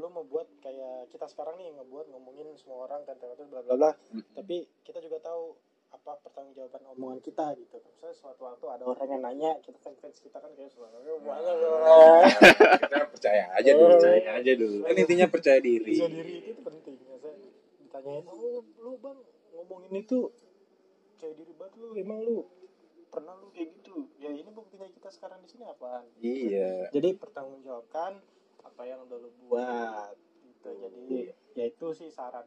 Speaker 1: lu mau buat kayak kita sekarang nih ngebuat ngomongin semua orang kan ternyata bla bla bla tapi kita juga tahu apa pertanggungjawaban omongan kita gitu misalnya suatu waktu ada orang yang nanya kita kan fans kita kan kayak suara
Speaker 3: Nah, kita percaya aja dulu
Speaker 2: Percaya aja dulu.
Speaker 3: kan intinya percaya diri
Speaker 1: bisa diri itu, itu penting ya saya ditanyain oh lu bang ngomongin itu percaya diri banget lu emang lu pernah lu kayak gitu ya ini buktinya kita sekarang di sini apaan
Speaker 3: iya
Speaker 1: jadi pertanggungjawabkan apa yang udah lu buat gitu jadi ya itu sih saran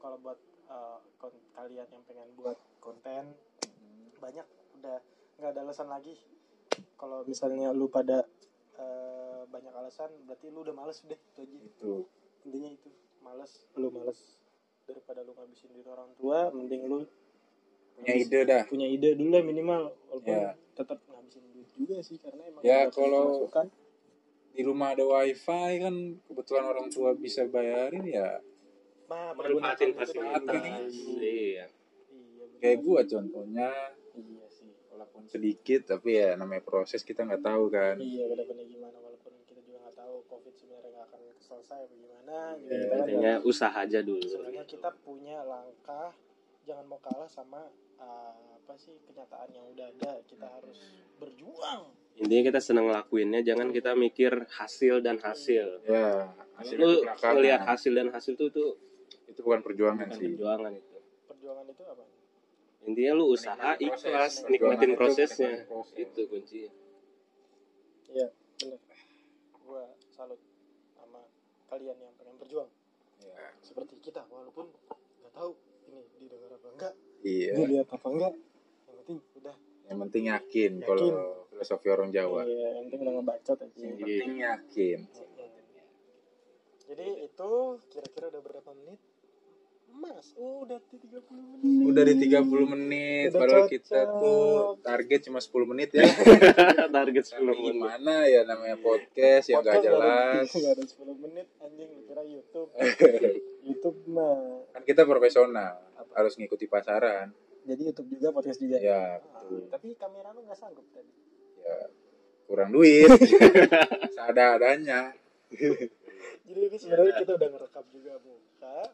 Speaker 1: kalau buat eh, kon- kalian yang pengen buat konten banyak udah nggak ada alasan lagi kalau misalnya lu pada eh, banyak alasan berarti lu udah males deh itu aja
Speaker 3: itu
Speaker 1: intinya itu males lu males daripada lu ngabisin duit orang tua mending lu
Speaker 3: punya ide dah
Speaker 1: punya ide dulu lah minimal walaupun
Speaker 3: Ya.
Speaker 1: tetap ngabisin duit juga sih karena emang ada
Speaker 3: Ya, kalau-
Speaker 1: pemasukan.
Speaker 3: di rumah ada wifi kan kebetulan orang tua bisa bayarin ya
Speaker 1: Nah,
Speaker 2: Manfaatin
Speaker 1: pergunakan itu
Speaker 2: fasilitas.
Speaker 1: dulu.
Speaker 2: Iya.
Speaker 1: Iya, bener.
Speaker 3: kayak gua contohnya
Speaker 1: Iya sih.
Speaker 3: walaupun sedikit tapi ya namanya proses kita nggak tahu kan
Speaker 1: Iya, kedepannya gimana walaupun kita juga nggak tahu COVID sebenarnya nggak akan selesai apa gimana. gitu.
Speaker 3: Iya,
Speaker 1: Kita kan
Speaker 2: Intinya usaha aja dulu.
Speaker 1: sebenarnya kita punya langkah jangan mau kalah sama uh, apa sih kenyataan yang udah ada kita harus berjuang
Speaker 2: Intinya kita senang lakuinnya, jangan kita mikir hasil dan hasil.
Speaker 3: ya hasil itu
Speaker 2: Lu
Speaker 3: belakangan.
Speaker 2: melihat hasil dan hasil itu tuh
Speaker 3: itu bukan perjuangan
Speaker 2: bukan
Speaker 3: sih
Speaker 2: perjuangan itu.
Speaker 1: perjuangan itu apa
Speaker 2: Intinya lu usaha
Speaker 3: Nikmatin proses.
Speaker 2: ikhlas,
Speaker 3: Perjuangan ya kan?
Speaker 2: nikmatin
Speaker 3: itu
Speaker 2: prosesnya.
Speaker 3: nikmatin proses.
Speaker 2: Itu kuncinya.
Speaker 1: gua salut sama kalian yang pengen berjuang
Speaker 3: Ya,
Speaker 1: seperti kita walaupun nggak tahu ini didengar apa enggak
Speaker 3: iya
Speaker 1: dilihat apa enggak yang penting udah
Speaker 3: yang penting yakin
Speaker 1: Yakin.
Speaker 3: kalau filosofi orang Jawa
Speaker 1: Iya, yang penting udah ngebacot aja
Speaker 3: yang penting yakin
Speaker 1: jadi itu kira-kira udah berapa menit Mas, oh, udah di 30 menit.
Speaker 3: udah di 30 menit
Speaker 1: Udah
Speaker 3: padahal
Speaker 1: cocok.
Speaker 3: kita tuh target cuma 10 menit
Speaker 2: *laughs*
Speaker 3: ya
Speaker 2: *laughs* Target 10
Speaker 3: Tapi
Speaker 2: menit.
Speaker 3: gimana ya namanya podcast yang gak
Speaker 1: Podcast Ya, nggak ada-
Speaker 3: jelas
Speaker 1: nggak *laughs* ada 10 menit anjing lu kira YouTube. YouTube mah
Speaker 3: kan kita profesional harus ngikuti pasaran
Speaker 1: jadi YouTube juga podcast juga.
Speaker 3: ya
Speaker 1: Ah,
Speaker 3: betul
Speaker 1: tapi kamera lu nggak sanggup tadi.
Speaker 3: ya kurang
Speaker 1: *laughs*
Speaker 3: duit seada adanya
Speaker 1: Jadi ini sebenarnya kita udah ngerekam juga muka,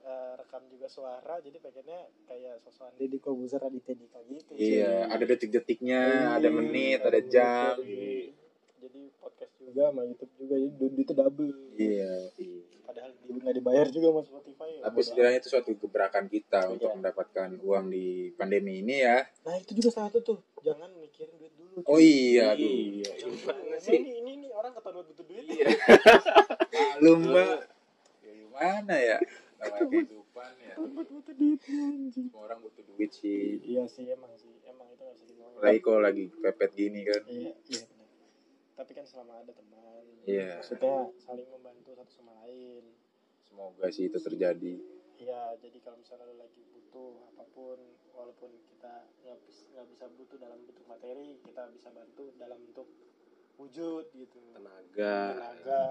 Speaker 1: eh, rekam juga suara, jadi pengennya kayak sosokan Deddy Kobuzer Raditya Dika gitu.
Speaker 3: iya ada detik-detiknya
Speaker 1: Iya,
Speaker 3: ada menit ada
Speaker 1: menit,
Speaker 3: jam
Speaker 1: iya. Jadi podcast juga sama YouTube juga, jadi du- itu double.
Speaker 3: iya
Speaker 1: Padahal dia nggak dibayar juga sama Spotify. ya.
Speaker 3: tapi setidaknya itu suatu gebrakan kita untuk
Speaker 1: Iya.
Speaker 3: mendapatkan uang di pandemi ini ya
Speaker 1: Nah itu juga salah satu tuh, jangan mikirin duit dulu.
Speaker 3: oh iya aduh
Speaker 1: Ini,
Speaker 2: Gimana sih?
Speaker 1: ini, ini, ini orang ketahuan butuh duit.
Speaker 3: Iya. malu
Speaker 1: Iya.
Speaker 3: mbak ya gimana ya namanya kehidupan ya
Speaker 1: Butuh butuh duit anjing.
Speaker 3: semua orang butuh duit sih
Speaker 1: Iya sih emang sih, emang itu nggak bisa dibohongin.
Speaker 3: apalagi kalau lagi kepepet gini kan
Speaker 1: Iya, iya benar. Tapi kan selama ada teman,
Speaker 3: Iya.
Speaker 1: maksudnya saling membantu satu sama lain.
Speaker 3: semoga sih itu terjadi
Speaker 1: Iya, jadi kalau misalnya lo lagi butuh apapun, walaupun kita nggak bis- nggak bisa butuh dalam bentuk materi, kita bisa bantu dalam bentuk wujud gitu.
Speaker 2: Tenaga.
Speaker 1: Tenaga,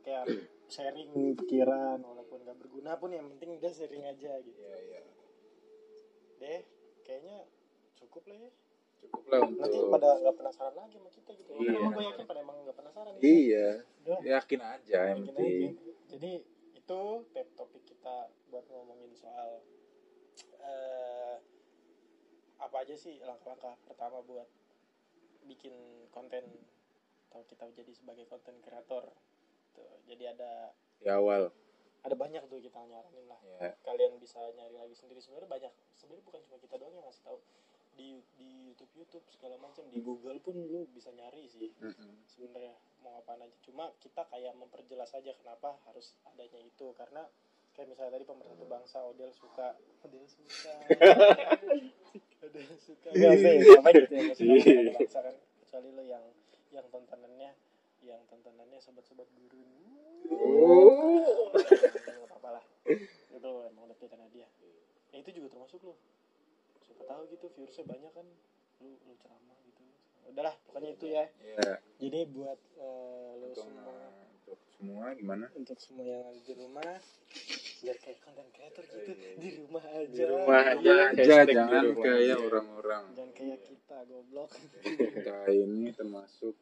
Speaker 1: kayak sharing pikiran, walaupun nggak berguna pun yang penting udah sharing aja gitu.
Speaker 3: Iya, iya.
Speaker 1: Deh, kayaknya cukup lah ya.
Speaker 3: cukup lah
Speaker 1: Nanti
Speaker 3: untuk
Speaker 1: pada nggak penasaran lagi sama kita gitu. Emang-
Speaker 2: Iya.
Speaker 1: Emang gue yakin pada emang nggak penasaran. ya?
Speaker 3: iya
Speaker 1: Udah.
Speaker 3: yakin aja yang
Speaker 1: Mungkin
Speaker 3: penting
Speaker 1: aja. Jadi itu tap topik kita buat ngomongin soal eh, apa aja sih langkah-langkah pertama buat bikin konten atau kita jadi sebagai konten kreator. Tuh, jadi ada
Speaker 3: di awal
Speaker 1: ada banyak tuh kita nyaranin lah.
Speaker 3: ya
Speaker 1: Kalian bisa nyari lagi sendiri sebenarnya banyak. Sebenarnya bukan cuma kita doang yang ngasih tahu di di YouTube YouTube segala macam di Google pun lu bisa nyari sih sebenarnya mau ngapain aja cuma kita kayak memperjelas aja kenapa harus adanya itu karena kayak misalnya tadi pemersatu bangsa Odel suka Odel suka Odel suka nggak sih apa gitu ya nggak suka pemersatu bangsa kan kecuali lo yang yang tontonannya yang tontonannya sobat-sobat gurun
Speaker 3: Oh.
Speaker 1: nggak apa-apa lah itu emang udah pilihan dia ya itu juga termasuk lo siapa tahu gitu viewersnya banyak kan lu lu ceramah gitu udahlah pokoknya itu ya
Speaker 3: ya
Speaker 1: jadi buat eh, lu
Speaker 3: untuk,
Speaker 1: semua
Speaker 3: untuk semua gimana
Speaker 1: untuk semua yang ada di rumah biar kayak content creator gitu
Speaker 3: Iya, iya.
Speaker 1: di rumah aja
Speaker 2: Di rumah aja.
Speaker 3: Iya aja
Speaker 2: Hashtag di
Speaker 3: jangan
Speaker 2: rumah.
Speaker 3: kayak gitu. orang-orang
Speaker 1: jangan kayak kita goblok
Speaker 3: kita ini termasuk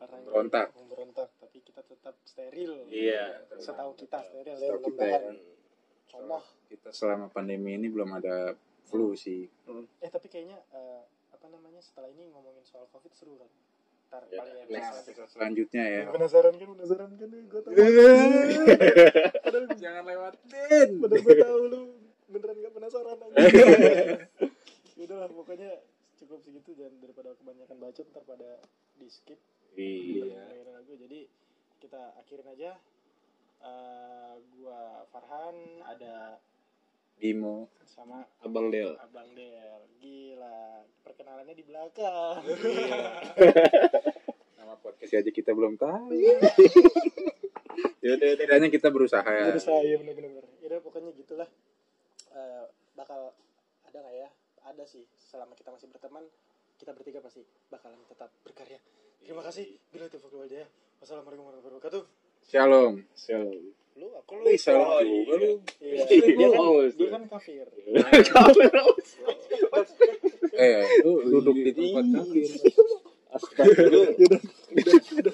Speaker 1: orang yang
Speaker 3: Berontak.
Speaker 1: berontak tapi kita tetap steril
Speaker 2: Iya.
Speaker 1: setahu kita steril ya
Speaker 3: Setahu
Speaker 1: belum
Speaker 3: kita
Speaker 1: tahan
Speaker 3: ya.
Speaker 1: Somoh.
Speaker 3: kita selama pandemi ini belum ada flu sih
Speaker 1: eh tapi kayaknya eh, apa namanya setelah ini ngomongin soal covid seru kan ntar
Speaker 2: Ya,
Speaker 1: paling episode-
Speaker 3: Nah, episode selanjutnya ya
Speaker 1: penasaran kan penasaran kan gue tau padahal
Speaker 3: *laughs* jangan lewatin
Speaker 1: Padahal gue tahu lu beneran gak penasaran aja. Yaudah lah pokoknya cukup segitu dan daripada kebanyakan bacot ntar pada di skip
Speaker 3: iya
Speaker 1: dengerin lagu. Jadi kita akhirin aja. Eh, gua Farhan ada
Speaker 3: Bimo
Speaker 1: sama
Speaker 2: Abang Del.
Speaker 1: Abang Del. Gila, perkenalannya di belakang.
Speaker 3: nama podcast aja kita belum *laughs* tahu
Speaker 2: Yaudah, yaudah.
Speaker 3: tidaknya kita berusaha ya
Speaker 1: Udah saya Iya, bener-bener. Yaudah pokoknya gitulah. Eh, bakal ada nggak ya? Ada sih. Selama kita masih berteman, kita bertiga pasti bakalan tetap berkarya. Terima kasih. Bila itu ya. Wassalamualaikum warahmatullahi wabarakatuh.
Speaker 3: shalom
Speaker 2: Shalom.
Speaker 1: Lu apa
Speaker 3: Kalau
Speaker 1: lu?
Speaker 3: salam
Speaker 2: Oh,
Speaker 3: juga
Speaker 2: iya.
Speaker 3: lu.
Speaker 1: Iya.
Speaker 2: Iya,
Speaker 1: Dia kan,
Speaker 2: oh,
Speaker 1: dia kan kafir.
Speaker 3: Eh, lu duduk di tempat kafir.
Speaker 2: Astagfirullah.
Speaker 1: Yaudah, udah, udah.